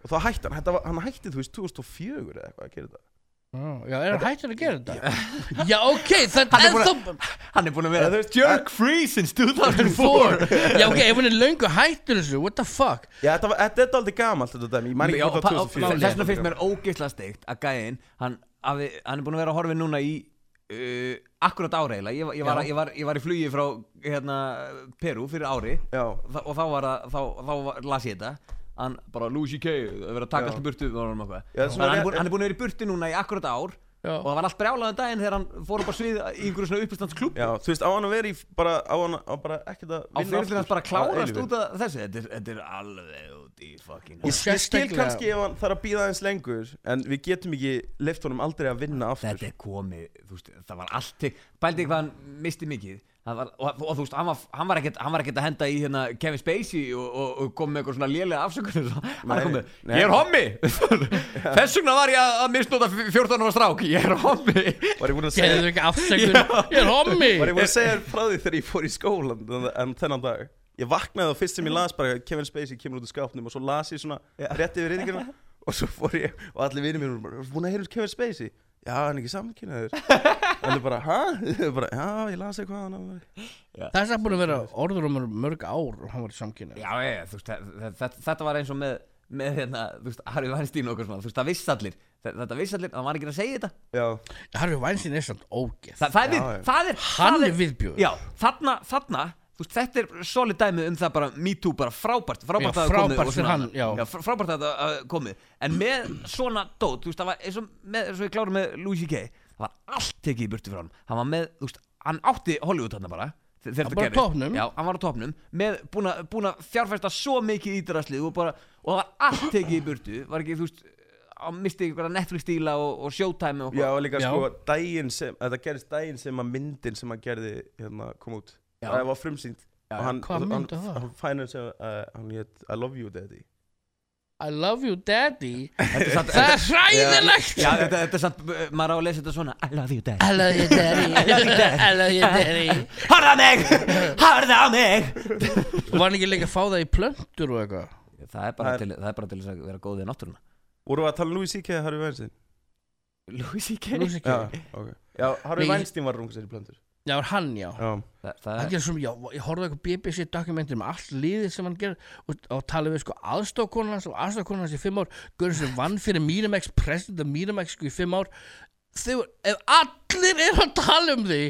S1: Og þá hætti hann, þetta var, hann hætti, þú veist, 2004 eða eitthvað að gera þetta
S3: já, já, er hann hættur að gera þetta já, ok, það
S2: Hann er
S3: er
S2: búin að-
S3: þá
S2: hann er búin
S1: Eða
S2: að
S1: þú
S2: vera
S1: veist,
S2: Jerk free since 2004
S3: já, ok, ef hann er löngu hættur þessu what the fuck,
S1: Já, þetta, var, þetta er aldrei gamalt þetta dæmi, ég mæn
S2: Já,
S1: ekki
S2: og
S1: hvort
S2: pa-
S1: það var
S2: og
S1: 2004
S2: Þess þess vegna finnst mér ógeðslega steikt að gæðin hann, hafi, hann er búin að vera að horfa núna í uh, akkurat ára eiginlega ég, var- ég, var-
S3: Já.
S2: ég, var- ég var í flugi frá hérna, Peru fyrir ári
S1: Já,
S2: Þa- og þá, var að, þá, þá var, las ég þetta hann bara Louis C.K. að vera að taka
S1: Já.
S2: allt í burtu og honum eitthvað.
S1: Já, það er
S2: Þannig að
S1: svona-
S2: hann, er búinn- hann er búin að vera í burtu núna í akkurat ár
S3: Já.
S2: og það var allt brjálaðan daginn þegar hann fór upp á svið í einhverju svona uppistandsklub
S1: já, þú veist, á hann að vera í bara, á hann að- á bara ekkert að
S2: á fyrirlin hans bara klárast
S1: út
S2: út af þessu þetta er, þetta er alveg út í fucking
S1: Ég, ég skil
S3: Sérstaklega-
S1: kannski ef hann þarf að býða aðeins lengur En við getum ekki leift honum aldrei að vinna aftur
S2: þetta er komið, þú veist, það var allt til, pældi hvað hann misti mikið hann var, og, og, þú veist, hann var, hann var ekkert hann var ekkert að henda í hérna Kevin Spacey og, og, og kom með eitthvað svona lélega afsökun hann
S1: Nei,
S2: kom með,
S1: nei.
S2: ég er hommi *laughs* þess vegna var ég að, að misnóta 14 ára strák, ég er hommi *laughs*
S1: Var ég búin að segja
S3: gerðu ekki afsökun ég er hommi
S1: Var ég búin að segja þér frá því þegar ég fór í skólan en- En þennan dag Ég vaknaði og fyrst sem ég las bara Kevin Spacey kemur út úr skápnum Og svo las ég svona rétt yfir reytingina
S2: *laughs*
S1: Og svo fór ég og allir vinir mér voru bara "Ertu Búin að heyra um Kevin Spacey Já, hann er ekki
S2: *laughs*
S1: samkynnaður Hann er bara, hæ? Já, ég las eitthvað hann var-
S3: Það er samt búin að vera orður um mörg ár og hann var í samkynni
S2: já, ég, þú veist, þetta, þetta var eins og með með hérna, þú veist, Harry Weinstein og okkur svona, þú veist, það viss allir, þe- þetta viss allir hann var ekki að segja þetta,
S1: Já,
S3: Harfi Weinstein er samt ógeð
S2: Þa, það er
S1: Já,
S2: við,
S1: já.
S2: það er
S3: Hann
S2: það
S3: er viðbjóður
S2: Já, þarna, þarna þú veist, Þetta er solid dæmi um það bara Me Too bara frábært Frábært
S3: Já,
S2: að það komið
S3: frábært
S2: og
S3: fyrir
S2: svona-
S3: hann, já.
S2: já, fr- Frábært að það hafi komið En með svona dót Þú veist, það var eins og, með, eins og ég klárum með Louis C.K. Það var allt tekið í burtu frá hann Hann var með, þú veist, hann átti Hollywood hann bara þe- þegar
S3: Hann
S2: þetta
S3: var á
S2: gerðist.
S3: toppnum.
S2: Já, hann var á topnum Með búin að- búin að fjárfesta svo mikið í drastlið og, bara, og það var allt tekið í burtu Var ekki, þú veist hann misti einhverja Netflix stíla og, og Showtime og
S1: já
S2: eitthvað.
S1: og líka
S3: Já.
S1: sko daginn sem Þetta gerist daginn sem að myndin sem hann gerði hérna, kom út
S2: Já.
S1: Það var frumsýnd
S2: Já.
S1: Og hann,
S3: Hvaða mynd
S1: hann, uh,
S3: var
S1: hann,
S3: það?
S1: hann, hann, hann, hann, hann, hann, hann, hann, hann,
S3: I love you daddy
S2: Þetta er samt-
S3: Það er hræðilegt
S2: Já, þetta, þetta er samt, eh, maður á að lesa þetta svona I love you dad
S3: I love you daddy I
S2: love you, daddy.
S3: love you daddy
S2: *laughs* Harða mig, harða mig
S3: Og var hann ekki líka að fá það í plöntur og eitthvað
S2: Það er
S1: Það
S2: bara
S1: er-
S2: til, það er bara til þess að vera góð við náttúruna
S1: Vorum við að tala um Louis C.K. eða Harvey Weinstein?
S2: Louis C.K.
S3: Lúsi ekki
S1: Já, ok Já, Harvey
S3: Nei, ég-
S1: Weinstein var rungur sér í plöndur
S3: Já, var hann já
S1: Já,
S2: Þa, það
S3: Hann
S2: er,
S3: gerir svona, já, ég horfði á eitthvað BBC dokumentir um allt liðið sem hann gerir og, og talið við sko aðstofkonan hans og aðstofkonan hans í fimm ár Guðurinn sem vann fyrir Miramax, president af Miramax sko í fimm ár þegar, ef allir eru að tala um því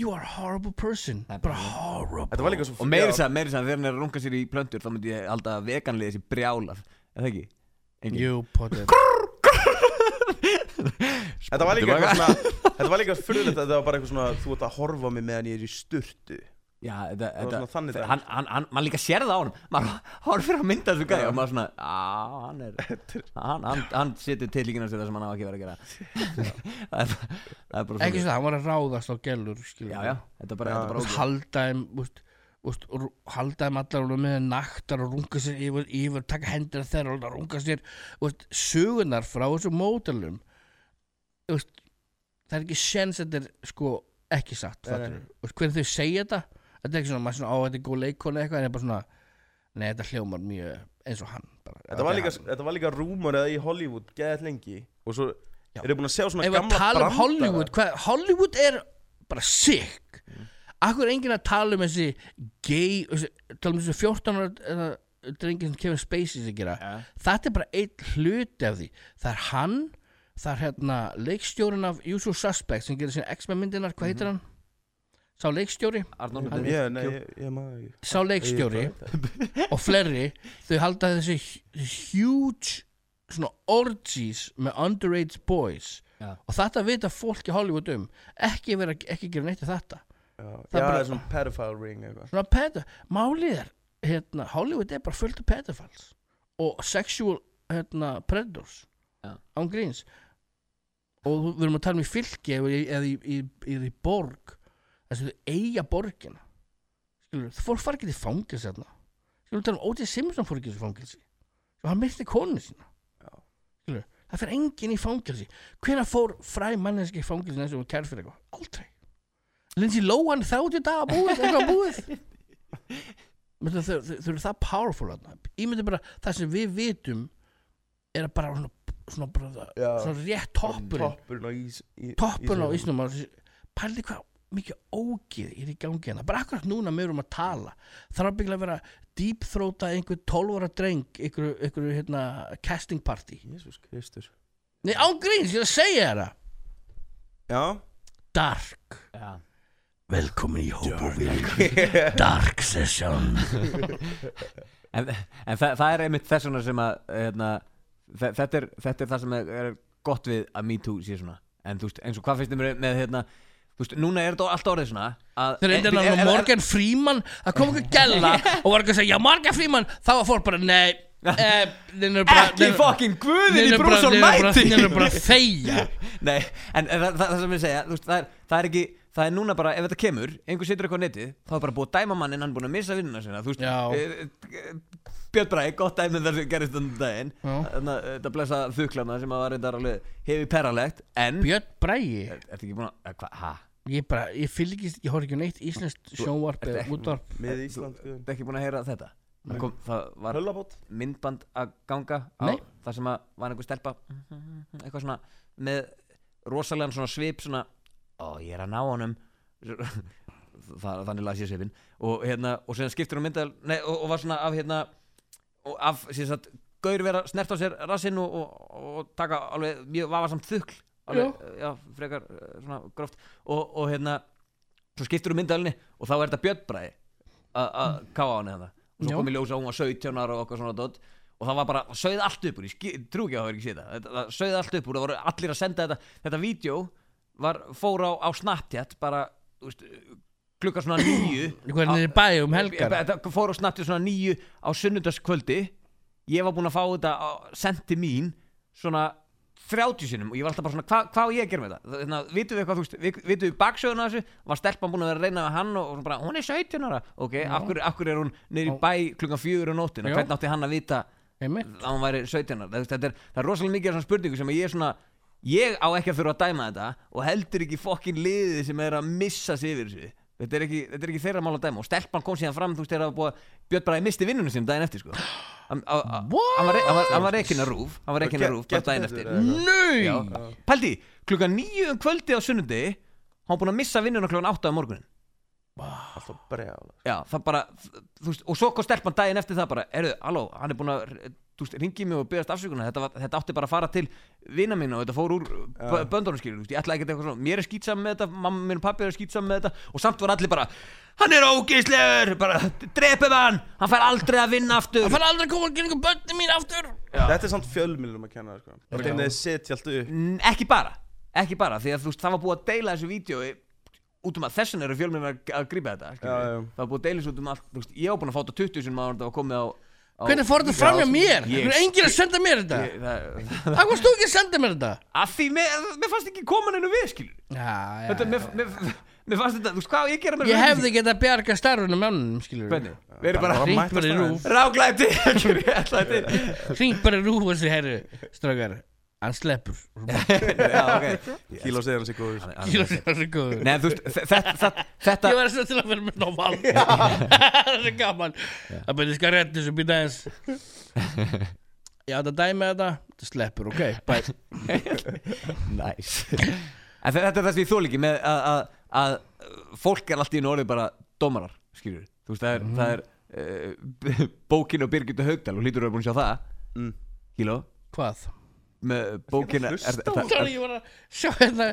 S3: you are a horrible person
S2: Það er
S3: bara
S2: bara-
S1: þetta
S3: horrible
S1: var líka svo
S2: Og meiri sæð, meiri sæð, þegar hann er að runga sér í plöntur Þá myndi ég halda að veganliði sér brjálar Er það ekki? Engin.
S3: you put it
S1: Þetta var líka
S2: Þetta var-
S1: eitthvað svona Þetta var líka furðulegt að þetta var bara eitthvað svona Þú ert að horfa á mig meðan ég er í sturtu
S2: Já, þetta,
S1: var svona þannig
S2: þetta
S1: dæmi.
S2: hann, hann, hann, maður líka sér það á hann Maður horfir að mynda þessu gæði Og maður svona, á, hann er Hann, hann, hann setur til líkina sér það sem hann á ekki verið að gera Það er bara- það er bara
S3: ekki
S2: svoleiðis.
S3: svona, hann var að ráðast á gellur skilur
S2: Já,
S3: við.
S2: já, þetta er bara,
S1: Já.
S2: þetta er bara
S3: Þú veist,
S2: ógeð.
S3: halda þeim úst, úst, rú- halda þeim allar alveg með naktar og runga sér yfir, yfir taka hendur að þeirra og láta runga sér úst, sögunar frá þessu mótalum úst, það er ekki sens að þetta er sko ekki satt
S1: Nei, nei.
S3: fattarðu? Úst, hvernig þau segja þetta þetta er ekki svona, maður svona á þetta er góð leikona eitthvað en það er bara svona, nei þetta hljómar mjög eins og hann bara,
S1: Þetta var
S3: Þetta er
S1: líka,
S3: hann.
S1: þetta var líka rúmur eða í Hollywood Geðið lengi Og svo
S3: Já.
S1: eru búin að sjá svona
S3: ef að
S1: gamla
S3: tala um
S1: brandara.
S3: Hollywood hvað, Hollywood er bara sick Akkur er enginn að tala um þessi gay, þessi, tala um þessi 14 ára eða drengin sem Kevin Spacey sem gera
S2: Já.
S3: þetta er bara einn hluti af því það er hann, það er hérna leikstjórin af Usual Suspect sem gerir sína X-Men myndinar,
S1: Mhm.
S3: hvað heitir hann? Sá leikstjóri,
S2: Arnór
S1: Ég,
S2: Hlutberg.
S1: nei, ég, ég maður ekki
S3: sá leikstjóri
S1: Ég- ég-
S3: og fleiri þau halda þessi huge svona orgies með underage boys
S2: Já.
S3: og þetta vita fólk í Hollywood um ekki vera, ekki gera neitt í þetta
S1: Já, já,
S3: Það er
S1: það
S3: bara-
S1: er svona pedophile ring eitthvað
S3: svona pedo, málið er hérna, Hollywood er bara fullt af pedophiles og sexual hérna, predators
S2: Já.
S3: án gríns og þú- við erum að tala um í fylki eða í, eða í, í, í, í borg þess að þau eiga borgina skilur, þú fólk fara ekki til fangils hérna skilur, við tala um O.J. Simpson fór ekki til fangilsi og hann myrti konu sína
S1: Já.
S3: skilur, það fyrir enginn í fangilsi hvenær fór fræ manneski í fangilsi eins og hún kær fyrir eitthvað, aldrei Lindsay Lohan 30 daga búið eitthvað búið Men þau, þau, þau eru það powerful þarna. Ímyndum bara það sem við vitum er að bara svona, svona, bara,
S1: Já.
S3: svona rétt toppurinn
S1: Toppurinn á ís í-
S3: toppurinn á
S1: ísjakanum.
S3: ísnum pældi hvað mikið ógið er í gangi hérna bara akkurat núna meður um að tala þarf að byggja að vera deep throata einhver 12 ára dreng einhver, einhver hérna, casting party
S1: Jésús Kristur
S3: Nei, ángríns, ég er að segja þér það
S1: Já
S3: Dark
S2: Já.
S3: Velkomin í
S1: *laughs*
S3: hópurinn Dark session
S2: en, en það, það er einmitt þess vegna sem að hérna, þe- þetta, er, þetta er það sem er er gott við að Me Too sé svona en þú veist, eins og hvað finnst þið mér með hérna, þú veist, núna er þetta allt orðið svona að,
S3: Þeir reyndi
S2: en-
S3: hann á
S2: en- en-
S3: Morgan Freeman Það kom einhver gælla og var eitthvað að segja Já, Morgan Freeman Þá var fólk bara, nei eh, þeir eru bara-
S2: ekki
S3: þeir-
S2: fokkin guðin
S3: þeir
S2: í
S3: eru bara-
S2: brúsum
S3: þeir eru bara-
S2: mæti
S3: Þeir eru
S2: *laughs*
S3: bara að þegja
S2: nei, en en það, það, það sem ég segja þú veist, það, er, það er ekki, það er núna bara ef þetta kemur, einhver setur eitthvað á netið þá er bara búið að dæma mannin, hann er búin að missa vinnuna sinna þú veist,
S3: Já.
S2: e, e, Björn Bræk, gott dæmið þar sem gerist þannig daginn
S3: Já.
S2: þannig að eh, þetta blessa þuklana sem að var reyndar alveg hefur perralegt, en
S3: Björn Bræi
S2: Er- Ertu ekki búin að, eh, hvað, hæ?
S3: Ég bara, ég fylg ekki, ég horf ekki á neitt Íslenskt sjónvarp eða
S2: ekki-
S3: útvarp
S1: Með Ísland sko. guðum.
S2: Ertu ekki búin að heyra þetta? Það Kom, það var
S1: Höllabót
S2: myndband að ganga á
S3: Nei.
S2: það sem að var einhver stelpa eitthvað svona með rosalega svona svip svona ó ég er að ná honum *laughs* það, þannig las ég svipin og hérna og síðan skiptir hún myndal nei, og, og var svona af hérna og af síðan satt gaur vera snert á sér rassinn og, og, og taka alveg mjög vafarsamt þukl alveg, já, frekar eh, svona gróft og, og hérna svo skiptir hún myndalinni og þá er þetta bjöttbræði að káa hann eða og svo
S3: Já.
S2: kom í ljós að hún var 17 ára og okkur svona dot og það var bara, það sögði allt upp úr ég trú ekki að það hafa ekki séð það, Þetta- það sögði allt upp úr það voru allir að senda þetta, þetta vídeo var, fór á, á Snapchat bara, þú veist, klukka svona nýju
S3: *clears throat* Hvernig er bæi um helgar
S2: Þetta fór á Snapchat svona nýju á sunnudagskvöldi ég var búinn að fá þetta á- sent til mín svona 30 sinnum og ég var alltaf bara svona "Hva- hvað á ég að gera með þetta þannig að vitum við eitthvað þú veist vi- vitum við baksöguna af þessu var stelpan búin að vera að reyna við hann og, og svona bara hún er 17 ára ok, af hverju, af hverju er hún neyri
S3: Já.
S2: bæ klukkan fjögur á nóttina
S3: Já.
S2: hvernig átti hann að vita
S3: einmitt
S2: að hann væri 17 ára þetta er, það er rosalega mikið af svona spurningu sem að ég er svona ég á ekki að þurfa að dæma þetta og heldur ekki fokkin liðið sem er að missa sig yfir þessu þetta er ekki, þetta er ekki þeirra mál að dæma og stelpan kom síðan fram þú veist þegar að búa Björn bara misti vinnunum sínum daginn eftir sko hann á- á-
S3: What?
S2: hann var re- hann var- hann var reikin að rúf hann var reikin að rúf bara daginn eftir
S3: Nei
S2: Já. Paldi, klukkan nýju um kvöldi á sunnundi hann búin að missa vinnuna klukkan átta um á morgunin
S1: Alltaf bregjála
S2: Já, það bara, þú veist, og svo kom stelpan daginn eftir það bara, erðu, halló, hann er búin að, þú veist, ringi mig og byggast afsökunar, þetta, var, þetta átti bara að fara til vina mín og þetta fór úr uh. böndunum skilur, þú veist, ég ætla ekki eitthvað svona, mér er skýtsam með þetta, mamma minn og pappi er skýtsam með þetta og samt voru allir bara, hann er ógeislegur, bara, drepum hann, hann fær aldrei að vinna aftur.
S3: Það fær aldrei að koma að gera bönni mín aftur
S1: Þetta er samt fjölmilum að kenna sko. Bara
S3: Já.
S1: hvernig þið setja allt upp
S2: N- ekki bara, ekki bara því að þú veist, það var búið að deila þessu vídeo út um að þessan eru fjölmið að, að grípa þetta skilur
S1: Já,
S2: við.
S1: já.
S2: það var búið að deila þessu út um allt þú veist, ég var búin að fá þetta 20 sinum ára og komið á, á
S3: Hvernig fór þetta fram hjá mér?
S2: Ég-
S3: Hvernig enginn að senda mér þetta?
S2: Ég- *laughs* það-
S3: Hvað varst þú ekki að senda mér þetta?
S2: að því, mér, mér fannst ekki komin einu við skilur
S3: Já, já,
S2: þetta, mér, mér, mér fannst þetta, þú veist, hvað á ég að gera með
S3: Ég
S2: þetta?
S3: hefði getað bjarga starfunum mannum, skilur
S2: hvernig, við erum
S1: Bara
S2: *laughs* bara
S1: mæta
S3: bara í
S1: staðinn.
S3: rúf.
S2: *laughs* ráklæti ráklæti
S3: Hring bara rúf og sér, herru, strákar Hann sleppur
S2: já, *laughs* ok
S1: Kíló segir hans í góður
S3: Kíla sér þessi góður
S2: Nei, þú veist, þe- þe- þe- þetta
S3: Ég var svona til að vera með normal *laughs* Það er svo gaman Það byrði skal rétt þessu býta eins Já, þetta dæmi þetta Þetta sleppur, ok bye.
S2: Næs *laughs* En þe- þetta er það sem ég þól ekki með að, að, að fólk er alltaf í einu orðið bara dómarar, skilur Þú veist, það er, það er uh, *laughs* bókin og Birgitta Haugdal og hlýtur að vera búin að sjá það
S1: Mm.
S2: Kíló
S3: Hvað?
S2: með bókina er, er, er,
S3: Sorry, ég var að sjá hérna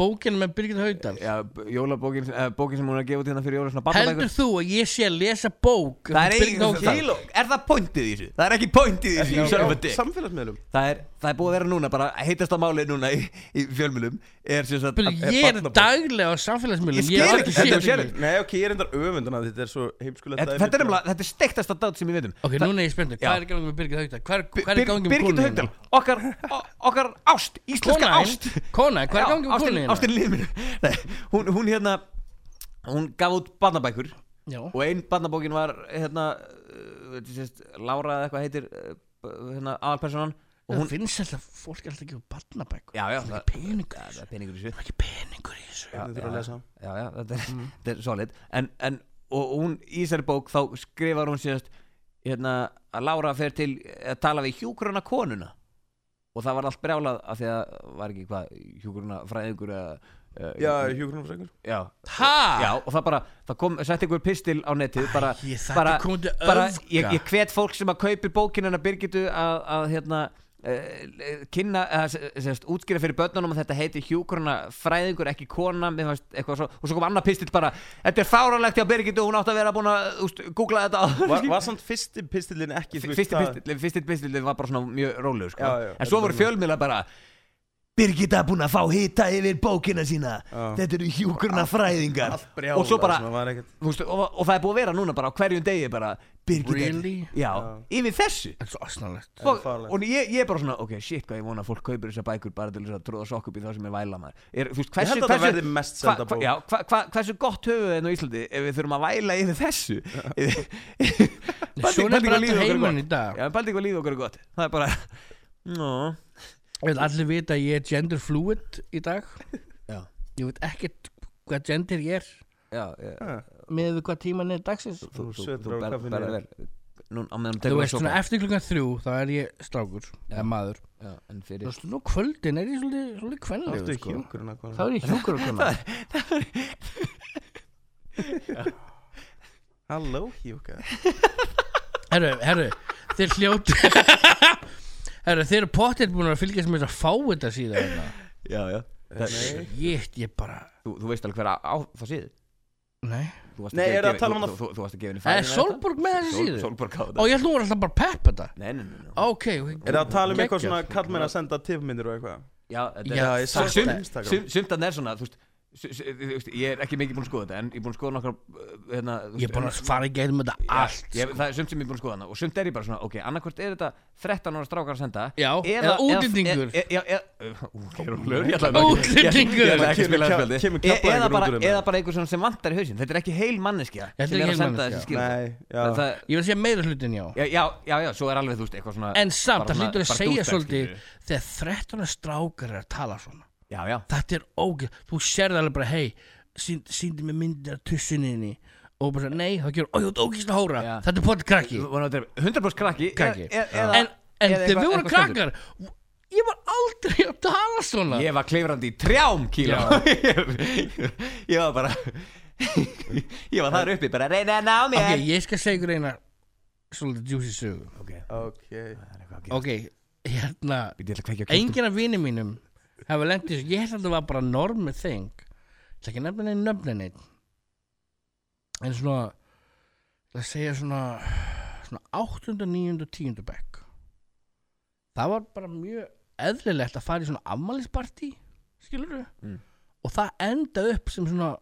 S3: bókina með Birgit Haugdal
S2: Já, b- jólabókin, uh, bókin sem hún er að gefa út hérna fyrir jóla svona barnabækur
S3: Heldur þú að ég sé að lesa bók
S2: um Það er
S3: eftir Birgit
S2: eigin,
S3: Haugdal?
S2: kíló, er það pointið í þessu? Það er ekki pointið í þessu, you son of a dick.
S1: Samfélagsmiðlum
S2: það er, það er búið að vera núna, bara heitast á málið núna í, í fjölmjölum Er sem sagt
S3: Byrju, Ég er daglega á samfélagsmiðlum
S2: Ég skil
S3: hef aldrei
S2: ekki,
S3: séð
S2: þetta er
S3: þetta.
S2: sérð.
S1: Nei ok, ég er endar öfundan að þetta er svo heimskulegt
S2: Þetta þetta er nefnilega, þetta er steiktasta dát sem ég veit um
S3: Ok, núna er ég spenntur,
S2: Já.
S3: hvað er í gangi með Birgit Haugdal? Hvað er- hvað er í gangi með
S2: Birgit
S3: konuna?
S2: Haugdal okkar, o- okkar ást, íslenska
S3: Kona,
S2: ást
S3: kona, hvað er í
S2: Já,
S3: gangi með
S2: ástin-
S3: konuna? hérna?
S2: Ástin *laughs* liðminu hún, hún hérna Hún gaf út barnabækur
S3: Já.
S2: Og ein barnabókin var hérna uh, þetta sést, Lára eða eitthvað heitir uh, hérna, Aðalpersonan Og
S3: Hún
S2: hún,
S3: finnst alltaf, fólk er alltaf að gefa barnabækur
S2: já, já,
S3: Það er
S2: það
S3: ekki peningur í
S2: það
S3: þessu
S2: er peningur í þessu
S3: Það er ekki peningur í þessu
S1: Þið þurfa að lesa
S2: já, já, þetta er, þetta er solid en, en, og, og hún í þessari bók þá skrifar hún síðast hérna, að Lára fer til eh, að tala við hjúkruna konuna og það var allt brjálað af því að var ekki hvað, hjúkruna fræðingur eða uh,
S1: Já, hjúgrunarfrækur
S2: já,
S3: Ha?
S2: já, og það bara það kom, sett einhver pistil á netið bara,
S3: Ég
S2: bara,
S3: þakka komið til
S2: bara
S3: öfga
S2: ég, ég hvet fólk sem að kaupir bókin hennar Birgitu að, að hérna uh, kynna, að, sérst, útskýra fyrir börnunum að þetta heiti hjúkurna fræðingur ekki kona, mér fannst eitthvað svo og svo kom annað pistill bara, þetta er fáralegt hjá Birgitu hún átt að vera búin að úst, googla þetta
S1: Var, var samt fyrsti pistillin ekki þú veist,
S2: fyrsti
S1: það-
S2: pistill, fyrsti pistill var bara svona mjög rólegur sko.
S1: Já, já,
S2: en svo
S1: þetta
S2: voru
S1: er
S2: fjölmiðla bara Birgitta búin að fá hita yfir bókina sína
S1: Já.
S2: þetta eru hjúkurna fræðingar
S1: Allt brjálað
S2: og svo bara
S1: sem var ekkert-
S2: Þú veist, og, og það er búið að vera núna bara á hverjum degi bara Birgitta
S3: Really?
S2: já, yfir þessu
S3: Það er svo asnalegt
S1: Það er
S2: og,
S1: fáránlegt.
S2: og ég, ég er bara svona, ok, shit, hvað ég vona að fólk kaupir þessar bækur bara til þess að tróða sokk upp í það sem er væla maður er, þú veist,
S1: Ég
S2: hversu,
S1: held að það verði mest
S2: hva,
S1: senda
S2: hva,
S1: bók
S2: já, hva, hva, hversu gott höfuð enn á Íslandi ef við þurfum að væla yfir þessu Baldi-
S3: Svona
S2: Baldi,
S3: er
S2: hvað
S3: bara
S2: líður okkur er
S3: alltaf
S2: gott?
S3: heimann í dag
S2: já, baldi hvað lífið okkur er gott það er bara, no
S3: Ég vil allir vita að ég er gender fluid í dag
S2: *laughs* já,
S3: Ég veit ekkert hvað gender ég er
S2: já, já
S1: Ha,
S3: Með hvað tíman er dagsins
S1: Þú sötur á
S2: ber-
S1: kaffinu.
S2: berð vel. Nú, á meðan
S3: Þú
S2: tekur
S3: veist svona eftir klukkan þrjú Þá er ég strákur Eða maður
S2: já, en
S3: Þú
S2: fyrir
S3: veist nú kvöldin er ég svolítið Svolítið
S1: Það ertu
S3: kvenlega sko Þá
S1: hjúgrunarfræðingur
S3: er ég hjúkur að
S2: *laughs*
S3: kona
S1: Halló hjúka
S3: Herru, herru Þeir hljótu Herru, þeir eru pottir búin að fylgjast með þess að fá þetta síðan hérna.
S2: já, já
S1: Nei.
S3: Jét, ég bara
S2: þú, þú veist alveg hver á, á það síðu
S3: Nei
S2: Þú varst
S1: Nei,
S2: gefa-
S1: er það að
S2: gefa-
S1: tala um
S2: þú-
S1: hana-
S2: Þú þú varst að gefa henni
S3: Það
S2: færi
S3: er Solborg með þessi síðu
S2: Solborg á
S3: Ó,
S2: þetta
S3: ég held nú var alltaf bara að peppa þetta
S2: Nei, nei, nei, nei.
S3: Ok, ok
S1: Er það að tala um eitthvað
S3: Geggjað.
S1: svona kallmenn að senda tifmyndir og eitthvað
S2: Já, þetta
S3: Já,
S2: er
S3: ég
S1: sá
S2: Sum-
S1: þetta.
S2: sum- Sumt að það er svona, þú veist s- s- þú veist, Ég er ekki mikið búin að skoða þetta En ég er búin að skoða nokkar uh, hérna, þú
S3: Ég er
S2: veist,
S3: búin að fara í gegnum þetta allt
S2: ég, Það er sumt sem ég er búin að skoða hana Og sumt er ég bara svona Ok, annarkvort er þetta 13 ára strákar að senda
S3: Já, eða útlendingur.
S2: e- e- Já, eða Útlendingur Ég ætlaði nú ekki-
S3: Útlendingur.
S2: ég ætlaði ekki að
S1: Kemur
S2: spila
S1: kja-
S2: það
S1: kemur
S2: spjaldi.
S1: kjaftaðingur
S2: E- eða
S1: út úr
S2: bara-
S1: þeim.
S2: Eða bara einhver svona sem vantar í hausinn Þetta er ekki heil manneskja
S3: Þetta er
S2: sem
S3: ekki
S2: er að
S3: heil
S2: senda
S3: manneskja.
S2: þessi skil
S1: Nei, já
S2: Það- það-
S3: Ég vil segja meira hlutin já
S2: Já, já, já, já, svo er alveg, þú veist, eitthvað svona
S3: En samt,
S2: bara svona-
S3: það hlýtur að
S2: bara
S3: segja
S2: douchebag,
S3: svolítið
S2: skilurðu.
S3: Þegar 13 strákar er að tala svona
S2: Já, já,
S3: Þetta er ógeð Þú sérði alveg bara, hei sínd, Sýndi mér myndir af tussuninni Og bara, svona, nei, það gerur, ó, ég ert ógeðslega hóra
S2: Já.
S3: Þetta er potið krakki
S2: Þú voru að drepa- 100% krakki e-
S3: Krakki.
S2: e- eða-
S3: En, en
S2: eða
S3: þegar
S2: eitthvað-
S3: við vorum
S2: eitthvað stendur.
S3: krakkar Ég var aldrei að tala svona
S2: Ég var klifrandi í trjám kíló *laughs* Ég var bara *laughs* Ég var þar uppi bara reyna að ná
S3: Ok,
S2: mér
S3: ég skal segja ykkur eina Svolítið djúsi sögu
S2: Ok,
S1: Ok
S2: það er eitthvað að gera.
S3: Ok,
S2: Ég ætla
S3: hérna
S2: að kveikja á kvistum.
S3: enginn af vinið mínum hafa lendið þessu, ég held að það var bara normi þing það ekki nefna neinn nöfnin einn en svona það segja svona svona 8. 9. og 10. bekk það var bara mjög eðlilegt að fara í svona afmælispartí skilur du
S2: Mm.
S3: og það enda upp sem svona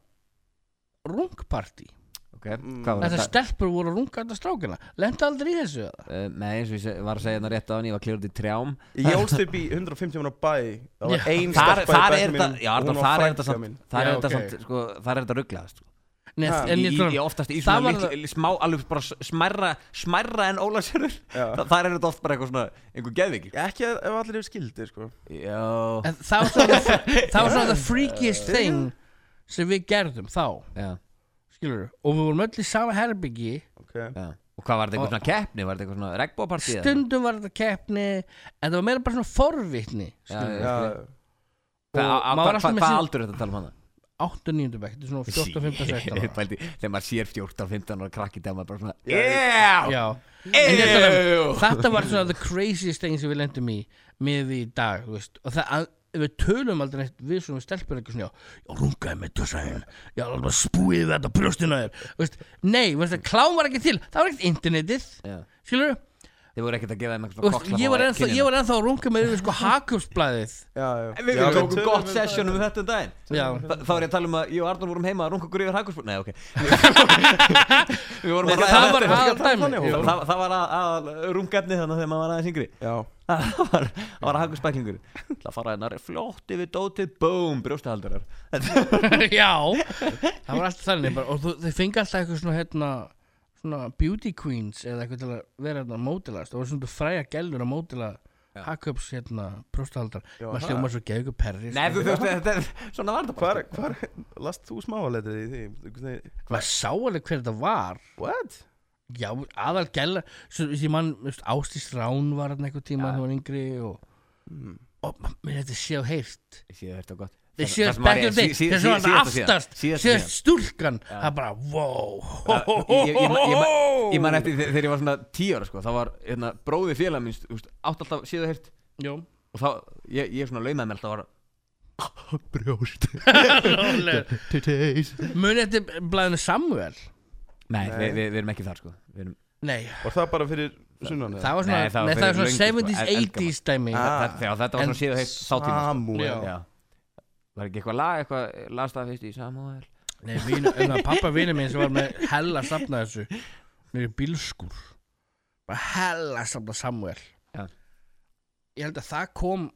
S3: rungpartí
S2: Ok,
S3: Mm.
S2: hvað var
S3: þessar
S2: þetta?
S3: stelpur voru að runga þetta strákina lendi aldrei í þessu eða?
S2: Uh, Nei, eins og ég se- var að segja þarna rétt á hann Ég var klifrandi í trjám
S1: Ég ólst upp í 150 manna bæ Það var
S3: Já.
S1: ein
S2: Þar
S1: stelpa í
S2: þar er
S1: bænum
S2: þetta
S1: mínum,
S2: Já,
S1: og hún
S2: Arnar,
S1: var
S2: þar er þetta
S1: frænka mín.
S2: samt Þar er
S3: Já,
S2: þetta
S3: ok.
S2: samt sko, Þar er þetta rugglaðast
S3: Nei,
S1: Ha,
S3: en
S2: Ég
S3: ég,
S2: ég
S3: ég,
S2: oftast í
S3: það
S2: svona
S3: var-
S2: litli- smá Alveg bara smærra Smærra en ólagsjörur
S1: Já.
S2: Þar er þetta oft bara eitthvað svona Einhver geðviki
S1: Ekki ef allir eru skildir sko
S2: Já
S3: En það var svona það var svona the freakiest thing sem við gerðum þá
S2: Já,
S3: skilur og við vorum öll í sama herbyggi
S1: Ok
S2: já Og hvað var þetta einhver svona keppni? Var þetta einhver svona regnbópartíð?
S3: stundum var þetta keppni en það var meira bara svona forvitni skilur
S2: Já,
S3: við
S1: Já,
S2: Hvað
S3: Og maður var alltaf með sín-
S2: aldur er þetta að tala um hana?
S3: 8. 9. bekk, þetta er svona 14, 15,
S2: *laughs*
S3: 16 ára.
S2: Pældi, Þegar maður sér 14, 15 ára krakki Þegar maður bara svona
S1: Já,
S2: Yeah,
S3: Já, En ég um- ætla
S2: yeah.
S3: þetta var svona the craziest thing sem við lendum í með því í dag, þú veist og það að við tölum aldrei neitt við svona stelpur eitthvað svona, já, já, rungaði með tussæðin já, það var spúið þetta brjóstina þér þú veist, nei, þú veist, klám var ekki til það var ekkert internetið,
S2: Já.
S3: skilur við
S2: Þeir voru ekkert að gefa þeim
S3: Þú
S2: eitthvað
S3: veist, ég var ennþá, ég var ennþá að runga með yfir sko Hakupsblæðið
S1: já, já
S2: Við
S1: Já,
S2: tókum
S1: tölum um
S2: gott
S1: það.
S2: session um þetta um daginn
S3: Já.
S2: Þa, Þá er ég að tala um að ég og Arnur vorum heima að runga okkur yfir hækurspúr
S3: *laughs*
S2: Nei, ok Við vorum að
S3: Það
S2: ræða
S3: var
S2: þetta.
S3: aðal dæmi
S1: Þannig,
S2: Það- Það það var að, að rungefni þannig þegar maður var aðeins yngri
S1: Já
S2: *laughs* Það var, það var hakuspæklingur Það fara hennar flott yfir dótið Búm, brjóstahaldurar
S3: *laughs* Já Það var alltaf þannig bara, Og þú, þau fengi alltaf eitthvað svona hérna Svona beauty queens Eða eitthvað til að vera hérna að mótilast Það voru svona fræja gælur að mótila Hakups hérna brjóstahaldar
S1: Já,
S3: Maður
S1: ha.
S3: hljóma svo geðu ykkur
S2: *laughs*
S3: perri sko.
S2: Nei, þú veist, þetta er svona var þetta
S1: Hvar,
S2: bara
S1: hvar, last þú smáaletrið í því? Einhvern veginn-
S3: Maður sá alveg hver þetta var
S1: What?
S3: Já, aðal gæla Svo þessi mann, þú veist, Ástís Rán var hérna eitthvað tíma Það var yngri og Og mér þetta sé á heilt
S2: Síðan þetta gott
S3: Þeir séðast back in the day Þeir sem var þetta aftast Séðast stúlkan Það er bara, wow
S2: Ég ég man- ég man- ég man eftir þe- þegar ég var svona 10 ára sko, þá var hérna, bróði félag mín átt alltaf síðu hirt
S3: Jó,
S2: og þá, ég, ég svona laumaði mér alltaf að vara brjóst
S3: rólega Mun þetta blæðinu Samuel?
S2: Nei, við, við, við erum ekki þar sko Við erum,
S3: Nei,
S1: Var það bara fyrir sunnan?
S3: það var svona
S2: Nei, það var
S3: Nei, það
S2: fyrir
S3: var svona
S2: löngu, sko,
S3: 70s,
S2: el- eldgamalt.
S3: 80s dæmi
S1: Ah,
S2: það, þegar, þetta var
S3: en
S2: svona síðu hirt sátíma sko.
S1: Samuel
S3: Já.
S2: Já Var ekki eitthvað lag, eitthvað lagstað fyrst í Samuel
S3: Nei, mínu, en það pappa vinur minn sem var með hella að safna þessu Mér er bílskur Bara hella að safna Samuel
S2: Já.
S3: Ég held að það kom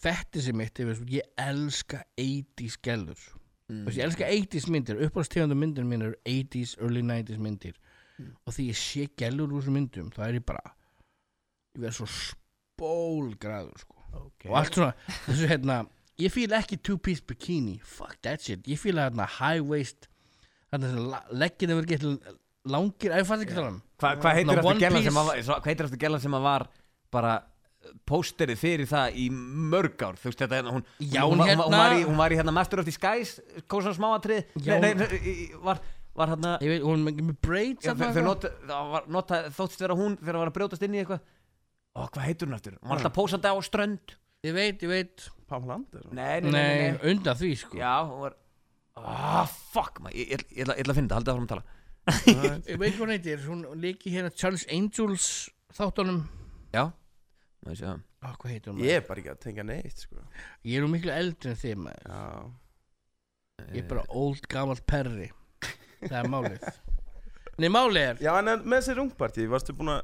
S3: Fetti sem mitt yfir, þessu. Ég elska 80s gælur
S2: Mm.
S3: Þú veist, ég elska 80s myndir uppáðstegundar myndir mín eru 80s, early 90s myndir
S2: Mm.
S3: og því ég sé gælur úr þessum myndum þá er ég bara ég verð svo spólgraður sko. og allt svona þessu hérna ég fíla ekki two piece bikini fuck that shit, ég fíla hérna high waist hérna sem leggin hefur gett langir, að ég fatt ekki um. yeah. þannig
S2: Hva- Hvað heitir
S3: Svona
S2: aftur
S3: One
S2: gellan sem
S3: Piece.
S2: að var- svo- hvað heitir aftur gellan sem að var bara pósterið fyrir það í mörg ár þú veist þetta hérna hún
S3: Já,
S2: hún,
S3: hún
S2: var- hún,
S3: hérna-
S2: var í, hún var í hérna Master of the Skies kósa smáatrið nei,
S3: Já,
S2: nei,
S3: hún-
S2: nei, í- í- var, var hérna
S3: ég veit, hún er með- með braids
S2: já,
S3: þarna
S2: þau- þau
S3: eitthvað.
S2: nota, það var, nota, þóttist vera hún þegar það var að brjótast inn í eitthvað Ó, hvað heitir hún aftur? Hún var alltaf pósandi á strönd
S3: ég veit, ég veit
S1: Pamela Anderson
S2: Nei, nei, nei, nei,
S3: nei,
S2: nei.
S3: undan því sko
S2: Já, hún var Ah, fuck maður, ég, ég, ég, ætla- ég ætla að finna það, haldið áfram að tala
S3: ég veit hvað hún heitir, hún leiki hérna Charles Angels þáttunum
S2: Já, maður sé það
S3: ah, hvað heitir hún?
S1: Ég er bara ekki að tengja neitt sko
S3: Ég er nú miklu eldri en þið maður
S1: Já
S3: Ég er bara old gamalt perri Það er málið
S2: *laughs*
S3: Nei, málið er
S1: Já, en en með þessi rungparti, varstu búin að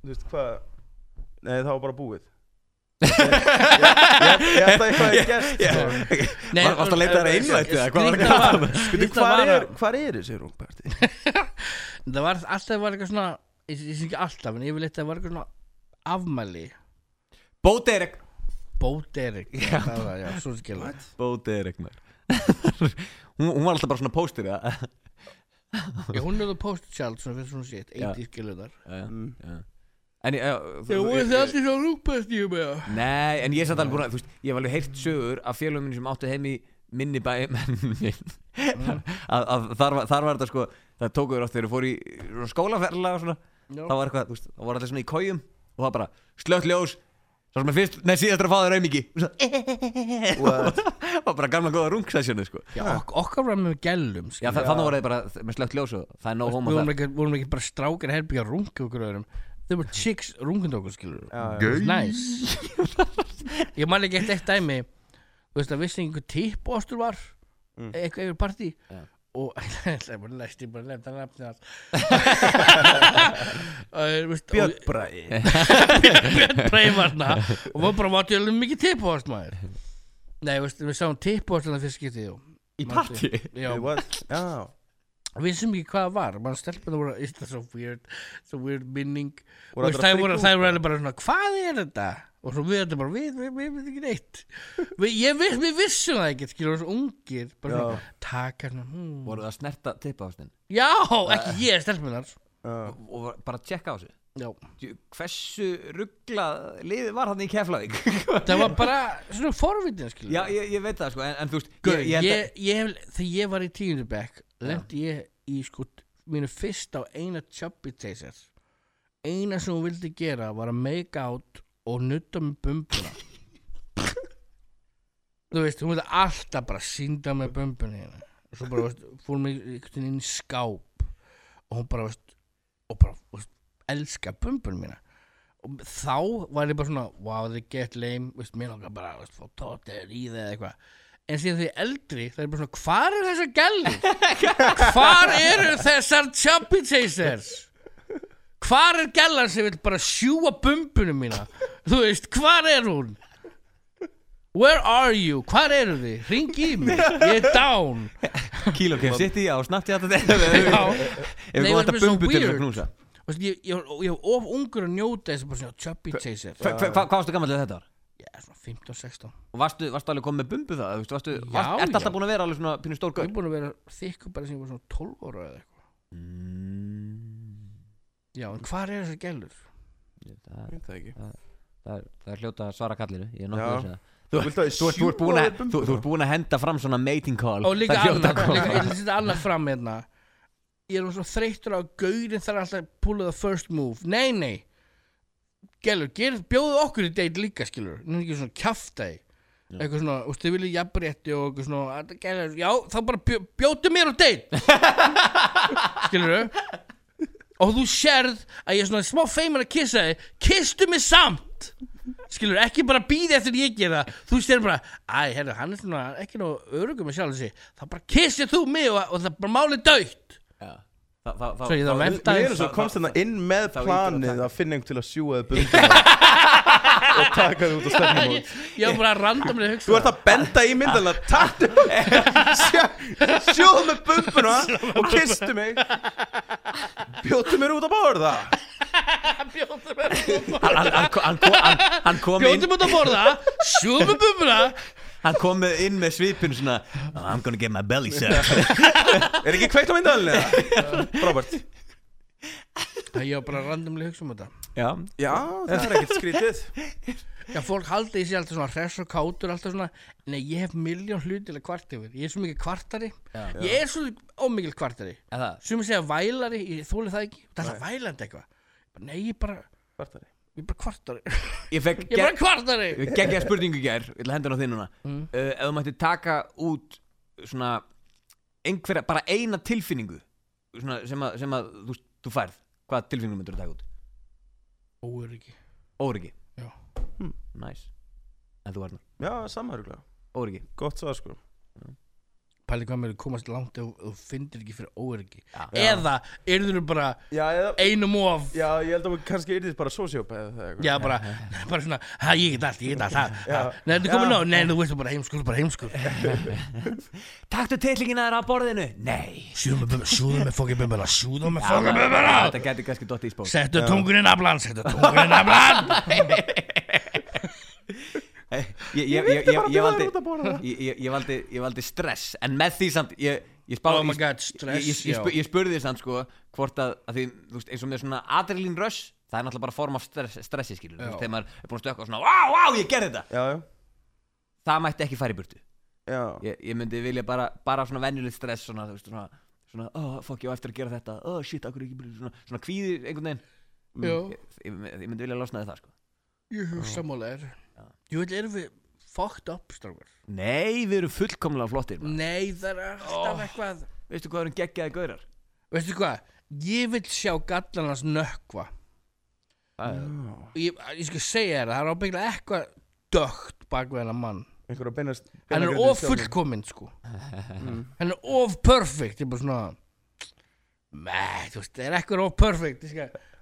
S1: Þú veist hvað Nei, það var bara búið Ég, ég, ég, ég held að eitthvað er gerst sko.
S3: Nei,
S2: Var- varstu að leita þér að innlæti eða hvað var að
S3: skrýtna
S2: *laughs* gera?
S3: var-
S1: Veitu,
S3: skrýtna
S1: hvar
S3: var
S1: er,
S3: að-
S1: hvar er þessi rungparti?
S3: Það var alltaf var eitthvað svona Ég ég sé ekki alltaf, en ég vil eitthvað var eitthvað svona Afmæli,
S2: Bó Derek
S3: bót Erik Já, það var, já, svo skilur
S2: Bó Derek maður *laughs* hún, hún var alltaf bara svona póstur eða?
S3: Já, hún er það post-child, svona fyrir svona shit
S2: Já.
S3: 80 skilur þar
S2: Já, já,
S1: Mm.
S2: já. En ég
S3: Já, hún er það allir svo rúpast í um eða
S2: Nei, en ég er samt alveg búin að, þú veist, ég hef alveg heyrt sögur af félagum minn sem áttu heim í minni bæ *laughs* að, að þar, var- þar var þetta sko það tókuður oft þegar þú fór í svona skólaferðlega og svona,
S3: Já.
S2: þá var eitthvað, þú veist, þá var allir svona í kójum og það bara, slögt ljós svo sem er fyrst, nei síðast er að fá þér aumingi *laughs* og svo,
S1: What?
S2: það var bara gamla góða rungsessjónu sko
S3: Já, ok- okkar var með gælum
S2: Já, þa þannig voru þið bara með slögt ljós og það er no
S3: Við
S2: homo
S3: vorum
S2: það
S3: ekki, vorum ekki bara strákar herbyggja að runga okkur öðrum Þau voru chicks rungandi okkur skilur
S1: Já, já.
S3: Gau nice. *laughs* Ég man ekki eitt eitt dæmi Þú veist að vissi einhver tipp ostur var Eitthvað yfir partí
S2: Já.
S3: Og *laughs* það er bara læst Ég bara lefði að nafni allt Og, þú veist, og-
S1: Björn Bræði
S3: *laughs* Björn Breifarna Og var bara vatið alveg mikið tipp ost maður Nei, þú veist, við sáum tipp ost Þannig fyrst getið
S2: í partí
S3: Já,
S1: What? Já,
S3: við vissum ekki hvað það var mann stelpina voru, is that so weird so weird minning
S1: Voru
S3: og
S1: allar að
S3: það
S1: freaka
S3: voru,
S1: út,
S3: það voru alveg bara svona hvað er þetta og svo við þetta bara við, við, við, við ekki neitt við, ég, við, við vissum það ekki skilur þessu ungir bara
S1: Já.
S3: svona taka svona hmm.
S2: voru það að snerta tippa á stinn
S3: já, ekki ég stelpunar
S1: já
S2: og var- bara að tjekka á þessu
S3: já.
S2: Djú- hversu ruggla liðið var hann í Keflavík *laughs*
S3: það var bara svona forvitin skilur
S2: Já, ég, ég veit það sko, en, en þú veist
S3: Gaur,
S2: ég, ég,
S3: ég, ég, hef- þegar ég var í tíundubekk lendi ég í sko mínu fyrst á eina chubby chaser eina sem hún vildi gera var að make out og nutta með
S2: *laughs*
S3: bumbuna þú veist, hún vildi alltaf bara sínda með bumbuna hérna og svo bara, veist, fór mig einhvern veginn inn í skáp og hún bara, veist og bara, veist, elska bumbuna mína og þá var ég bara svona wow, they get lame, veist, mér langar bara veist, fá tóttir í það eða eitthvað en síðan því eldri, það er bara svona hvar eru þessar gælir? hvar eru þessar chubby chasers? hvar er gælan sem vil bara sjúa bumbunum mína? þú veist, hvar er hún? where are you? hvar eru þið? ringi í mig, ég er down
S2: ég kíló kef sitt í á snabbt ég þetta *laughs* Ef við
S3: Nei,
S2: góðum
S3: það
S2: þetta
S3: er svo
S2: bumbu til að
S3: weird.
S2: knúsa
S3: Þú veist, ég, ég, var- ég var of ungur að njóta þess að bara svona chubby chaser
S2: Hva- hva- Hvað varstu gammal þegar þetta var?
S3: ég er svona 15-16
S2: Og varstu, varstu alveg komið með bumbu það? Þú veist, Varstu,
S3: Já,
S2: varstu, ertu
S3: já.
S2: alltaf búin að vera alveg svona pínu stór
S3: Ég
S2: gaur?
S3: er búin að vera þykku bara sem ég var svona 12 ára eða eitthvað Mm. Já, en hvar er þessar gælur?
S2: Það,
S1: Ég veit það ekki.
S2: það, er, það er hljóta að svara kallinu Ég er
S1: Já.
S2: nokkuð þess að
S1: Þú vilt að
S2: Þú ert, þú, ert
S1: sjúga
S2: búin að,
S1: þér
S2: þú,
S1: bumbuna?
S2: þú ert búin að henda fram svona mating call
S3: Og líka
S2: Það er hljóta
S3: annað,
S2: að koma.
S3: líka, ég setja annað fram hérna Ég er svona þreyttur á að gaurinn þar alltaf púla the first move Nei, nei Gælur, gerð, bjóðu okkur í date líka skilur Nú er ekki svona kjaftaði eitthvað svona, þú veist, þið viljið jafnrétti og eitthvað svona, að það gæla, já, þá bara bjó, bjótu mér á date
S2: *laughs*
S3: skilur og þú sérð að ég er svona smá feimur að kissa þið kistu mig samt skilur, ekki bara býði eftir ég gera þú sér bara, æ, herru, hann er svona ekki nú örugum með sjálf þessi þá bara kissið þú mig og, og það bara málið dögt
S2: Já. Þá- þá- þá-
S3: Svo ég þarf að
S2: þá-
S3: venda
S1: Mér
S3: aðeins.
S1: er svo komst hérna inn með
S2: þá- þá-
S1: planið
S2: þá-
S1: að finna einhvern til að sjúa þið bumbuna og taka þið út á stefnum
S3: ég, ég var bara randomlega að hugsa
S1: Þú ert að benda í myndalina Tattu Sjóðu með bumbuna og kistu mig Bjóttu mér út að borða
S3: það bjótu mér á date.
S2: Hann- hann- hann- hann kom- hann- Hann kom inn
S3: bjótu mér út að borða sjúfum bumra
S2: Hann kom með- inn með svipin svona "Oh, I'm gonna get my belly *laughs* set
S1: Er ekki kveikt á myndalina? Robert
S3: ég var bara randomlega að hugsa um þetta
S2: Já,
S1: Já, það er ekkert skrítið
S3: Já, fólk haldi í sig alltaf svona hress og kátur alltaf svona, nei, ég hef miljón hlutilega kvart yfir, ég er svo mikið kvartari ég er svo ómikil kvartari
S2: Er það?
S3: sem ég segja vælari, ég þóli það ekki það er alltaf vælandi eitthvað Bara, nei, ég er bara,
S1: Kvartari.
S3: ég er bara kvartari
S2: Ég fekk
S3: ég er bara Mm. kvartari
S2: geggja spurningu í gær Ég ætla að henda hann á þín núna uh, Ef þú mætti taka út svona einhverja, bara eina tilfinningu svona, sem að, sem að þú, þú færð hvaða tilfinningu myndur þú taka út?
S3: óöryggi,
S2: Óryggi
S3: Já.
S2: hmm. Nice En þú Arnar,
S1: Já, samhæruglega
S2: óryggi *laughs*
S1: Gott svar sko
S3: pæli hvað maður er að komast langt ef þú fyndir ekki fyrir óergi
S2: Já.
S3: eða yrður bara
S1: Já, eða,
S3: einum of
S1: já, ég held að maður kannski yrðist bara sociopath eða eitthvað.
S3: Já, bara, bara svona, hæ, ég get allt, ég get allt, hæ, hæ,
S1: Já.
S3: nei, þú komið
S1: Já.
S3: nóg, nei, þú veist, þú bara heimskur, bara heimskur,
S2: Taktu titlingin að þeirra á borðinu Nei
S3: sjúðum með bumbuna, sjúðum með fokkin bumbuna, sjúðum með fokkin bumbuna,
S2: Þetta getur kannski dotti í spók
S3: settu tungunni í naflan, settu tungunni í *laughs* naflan,
S2: Ég, ég, ég, ég,
S1: vildi
S2: ég,
S1: bara
S2: ég,
S1: bjóða
S2: valdi,
S1: þér út að borða.
S2: ég, ég, ég, valdi, ég valdi stress En með því samt Ég, ég, spá,
S3: Oh my
S2: ég-
S3: God, stress,
S2: ég, ég, ég, spu,
S3: já.
S2: ég spurði því samt sko Hvort að, að því, þú veist, eins og með svona adrenalin rush Það er náttúrulega bara form af stress, stressi skilur Þú
S3: Já.
S2: veist, þegar maður er búin að stökka og svona Vá, vá, ég gerði þetta
S1: Já, já,
S2: Það mætti ekki fara í burtu
S1: já.
S2: ég, ég myndi vilja bara, bara svona venjulegt stress Svona, þú veist, svona Svona, oh, fuck, ég á eftir að gera þetta Oh, shit, akkur ekki byrjuð Svona, svona kvíði einhvern veginn Mm,
S3: já,
S2: ég, ég, ég myndi vilja losna við það sko
S3: ég hugsa málega er, jú, veit, erum við fucked up, strákur,
S2: Nei, við erum fullkomlega flottir maður.
S3: nei, það er alltaf eitthvað,
S2: Veistu hvað erum geggjaði gaurar?
S3: veistu hvað, ég vil sjá gallarnas nökkva,
S2: Það er-
S3: og ég, ég skal segja þér, að það er ábygglega eitthvað dögt bak við hennar mann,
S1: Einhverja beinast
S3: hann er of fullkominn sko hann er of perfect ég er bara svona meh, þú veist, það er ekkur of perfect ég skal,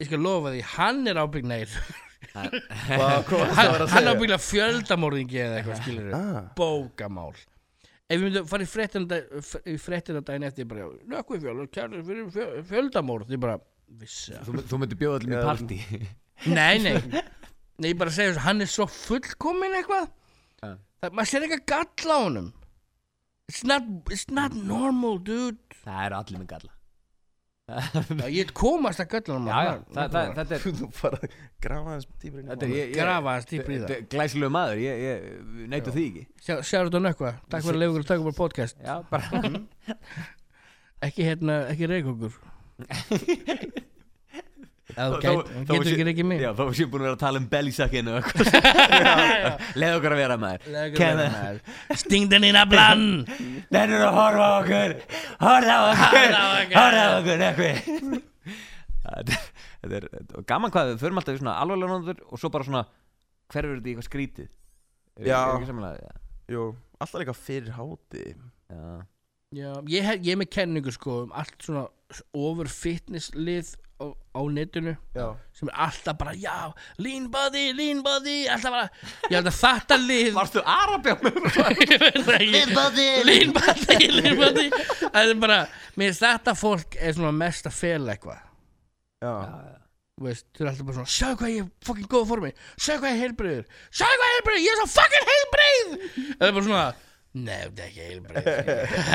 S3: ég skal lofa því hann er ábygg neir
S1: *laughs* Hvað hvað varstu að vera
S3: hann,
S1: að
S3: hann
S1: segja?
S3: er ábygglega fjöldamorðingi eða eitthvað skilur
S1: Ah. *laughs*
S3: bókamál ef við myndum fara í fréttina dag- f- í fréttina daginn eftir ég bara, nökkvi fjöld, kærlir fyrir fjö- fjöldamorð ég bara, vissi það
S2: Þú, mynd- þú myndir bjóða allir mér
S1: Já.
S2: partí *laughs*
S3: Nei, nei Nei, ég bara segja þessu, hann er svo fullkominn eitthvað
S2: Ja.
S3: Það, maður sér eitthvað galla á honum It's not, it's not normal, dude
S2: Það eru allir með galla
S3: Já, Ég komast að galla á honum
S2: Já, já, það, það,
S3: það,
S2: þetta er
S1: Þú bara grafa hans típur inn í
S2: Þetta er ég, ég,
S3: Grafa aðeins dýpra í það.
S2: þetta er Glæsilegu maður, ég, ég neytu því ekki
S3: það Sjáru þetta nökkvað, takk fyrir að leifa ykkur að taka bara podcast
S2: Já, bara
S3: *laughs* Ekki hérna, ekki reik okkur Já, þú
S2: Þó-
S3: gæt-
S2: þó-
S3: þú
S2: þó
S3: getur
S2: sé-
S3: ekki reikið mig
S2: *laughs* Já, þá séum búin að vera að tala um bellysakkinu og *laughs* eitthvað Leð okkur að vera maður
S3: Leið okkur að
S2: Kenneth.
S3: vera, maður. Sting den inn að blann
S2: *laughs* Nennir að horfa á okkur Horfa á okkur
S3: Horfa á okkur.
S2: Horfa á okkur Nekvi Þetta er- þetta er þetta er gaman hvað Við förum alltaf í svona alvarlega nóður Og svo bara svona Hverfur þetta í eitthvað skrítið Er-
S1: Já.
S2: er ekki sammála?
S1: Jú, alltaf líka fyrir háti
S2: Já Já.
S3: Já, ég, hef- ég er með kenningu sko um allt svona over fitness lið á, á netinu
S1: Já
S3: sem er alltaf bara já, lean body, lean body alltaf bara, ég held að þetta lið
S2: Varstu arabi á mér?
S3: *laughs* Ég veit það ekki. lean body lean body, lean body það er bara, mér finnst þetta fólk er svona mest að fela eitthvað
S1: Já,
S3: Þú veist, þau eru alltaf bara svona, sjáðu hvað ég er fucking góð formi sjáðu hvað ég er heilbreyður, sjáðu hvað ég er heilbreyður ég er svo fucking heilbreyð það er bara svona, nefnd ekki
S2: *laughs*
S3: heilbreyð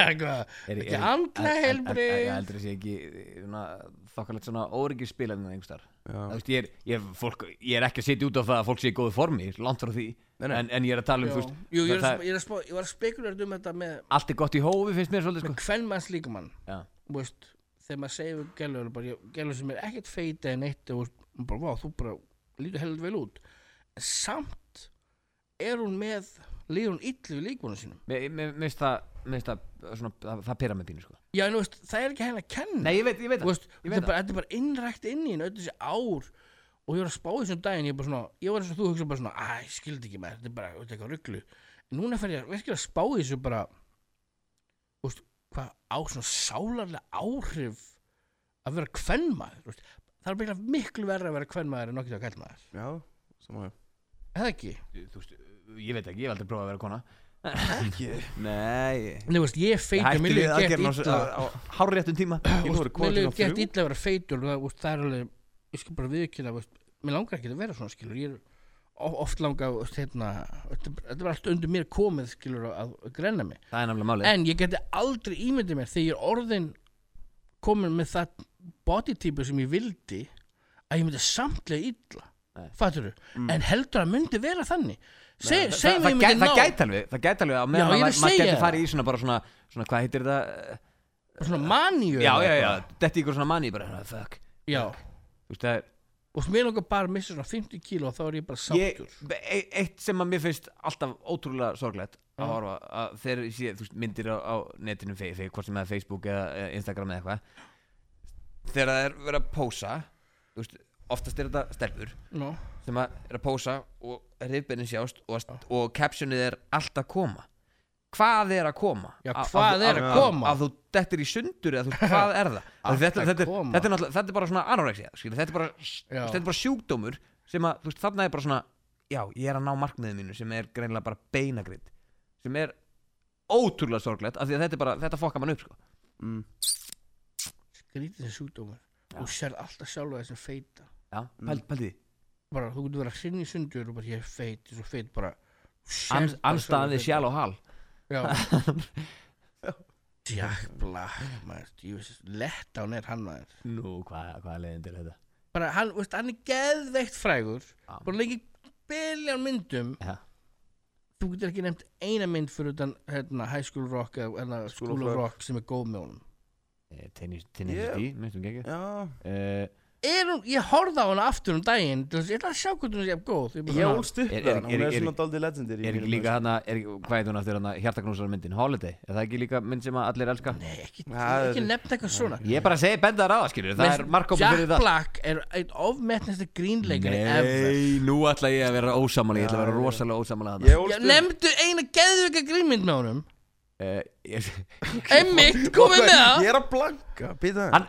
S3: ekki andlega
S2: Ég
S3: heilbreyð
S2: heldur þessi ekki svona, Þokkalegt svona óryggir spilarinn einhverstaðar
S1: já
S2: Þú veist, ég er, ég, er fólk, ég er ekki að sitja út á það að fólk sé í góðu formi, ég er langt frá því
S1: Nei, nei.
S2: En, en ég er að tala um, þú veist
S3: Jú, ég, er,
S2: það-
S3: að- ég, er að spá, ég var að spekulera um þetta með
S2: Allt er gott í hófi, finnst mér svolítið sko.
S3: kvenmanns líkamann
S2: Já.
S3: Þú veist, þegar maður segir við gælur bara, gælur sem er ekkert feita en eitt og þú veist, hún bara, vá, þú bara lítur heldur vel út en samt er hún með líður hún illu við líkvonu sínum
S2: Mér mér- mér finnst það, mér finnst það, svona, það, það pyrra mig pínu sko.
S3: já, en þú veist, það er ekki henni að kenna
S2: Nei, ég veit, ég veit
S3: Þú veist,
S2: ég
S3: þetta
S2: veit
S3: er bara, þetta er bara innrækt inn í henni öll þessi ár og ég var að spá í þessum daginn ég, er bara svona, ég var eins og þú hugsa bara svona æ, ég skildi ekki maður, þetta er bara þetta er eitthvað rugglu núna fer ég virkilega að spá í þessu bara þú veist, hvað á svona sálarlega áhrif að vera kvennmaður þú veist. það er bara miklu verra að vera kvennmaður en nokkið að kallmaður,
S1: Já, saman
S3: eða ekki
S2: Þú veist, ég veit ekki, ég hef aldrei prófað að vera kona.
S1: Ekki
S2: Nei,
S3: en þú veist, ég er feitur, mér
S2: hætti við
S3: líður gett
S2: aðgerðin á,
S3: illa
S2: á, á hárréttum tíma.
S1: Ég voru
S3: mér
S1: kvotinn á
S3: líður gett
S1: þrjú
S3: illa að vera feitur og það, úst, það er alveg, ég skal bara viðkynna úst, mér langar ekki að vera svona skilur ég er o- oft langa úst, hérna, þetta þetta er bara allt undir mér komið skilur að, að grenna mig
S2: Það er nefnilega málið.
S3: en ég geti aldrei ímyndið mér þegar ég er orðin komin með það bodytípu sem ég vildi að ég myndi samtlega illa
S2: Nei. Mm.
S3: fattur þú, en heldur að myndi vera þannig
S2: Nei,
S3: segjum
S2: það-
S3: seg,
S2: það
S3: ég
S2: gæ-
S3: myndi
S2: Það
S3: ná
S2: gæti alveg, það gæti alveg að
S3: Já,
S2: meðan
S3: ég er
S2: maður
S3: að
S2: maður
S3: segja
S2: gæti
S3: það.
S2: farið í svona bara svona, svona hvað heitir þetta?
S3: svona
S2: Já,
S3: maníu eða
S2: já, já,
S3: eitthvað.
S2: þetta ykkur svona manni bara, "Ah, fuck.
S3: já.
S2: Þú veist, það er,
S3: og mér langar bara að missa svona 50 kíló og þá er ég bara
S2: ég,
S3: sáttur
S2: e- eitt sem að mér finnst alltaf ótrúlega sorglegt að horfa að þegar ég sé þú veist, myndir á, á netinu fe- fe- hvort sem það er Facebook eða eða Instagram eða eitthvað þegar það er verið að pósa þú veist, oftast er þetta stelpur
S3: Nó.
S2: sem að er að pósa og rifbeinni sjást og, og captionið er allt að koma hvað er að koma
S3: Já,
S2: Að-
S3: hvað
S2: að-
S3: er að koma?
S2: að þú dettir í sundur eða þú, hvað er það
S3: *laughs* Allt
S2: þetta,
S3: að
S2: þetta, er-
S3: koma.
S2: þetta, er náttúrulega- þetta er bara svona anorexia skilur, þetta, er bara,
S3: Já.
S2: þetta er bara sjúkdómur sem að þú veist, þarna er bara svona já, ég er að ná markmiðið mínu sem er greinilega bara beinagrind sem er ótrúlega sorglegt af því að þetta, er bara, þetta fokka mann upp sko.
S1: mm.
S3: skrítið sem sjúkdómar og sér alltaf sjálfa þessum feita
S2: já,
S3: Mm.
S2: pæl, pældi því
S3: bara þú getur verið að sinni í sundur og bara ég er feit, ég er svo feit bara
S2: Ans- anstæðan við sjál og
S3: *laughs*
S2: hal
S3: já Jack Black maður, djúvis, lett á neitt hann maður
S2: nú, hvað, hvað er leiðin til þetta
S3: bara hann, veist, hann er geðveikt frægur
S2: Já.
S3: bara leikir biljan myndum
S2: Já.
S3: þú getur ekki nefnt eina mynd fyrir utan hérna, High School Rock eða hérna,
S1: School
S3: School
S1: of
S3: of
S1: Rock.
S3: Rock sem er góð með honum
S2: Eh, tennis, tennis yeah. tí, minnstum ekki
S1: Já,
S2: uh,
S3: er hún, ég horfði á hana aftur um daginn til þess, ég ætla að sjá hvernig hún sé jafn góð ég, bara
S1: ég
S3: svona-
S1: ólst upp
S2: Er-
S1: með
S2: er-
S1: hann, hún
S2: er-
S1: er
S2: er-
S1: svona daldi legendir
S2: er ekki líka hana er, ekki- hvað heit hún aftur hana, hjartaknúsar myndin Holiday, er það ekki líka mynd sem að allir elska
S3: Nei, ekki,
S1: Það
S3: ekki
S1: er-
S3: nefnt eitthvað svona
S2: ég bara segi benda ráða skilur, það er markópa
S3: Jack
S2: fyrir það
S3: Black er einn ofmetnasta grínleikari ever
S2: Nei, nú ætla ég að vera ósamalega, ég ætla að vera rosalega
S1: Ég
S2: ósamalega
S1: ólst
S3: Já,
S1: upp
S3: nefndu eina geðvika grínmynd með honum
S2: yeah.
S3: Einmitt, komið með það
S1: Ég er að blanka, býta
S2: hann,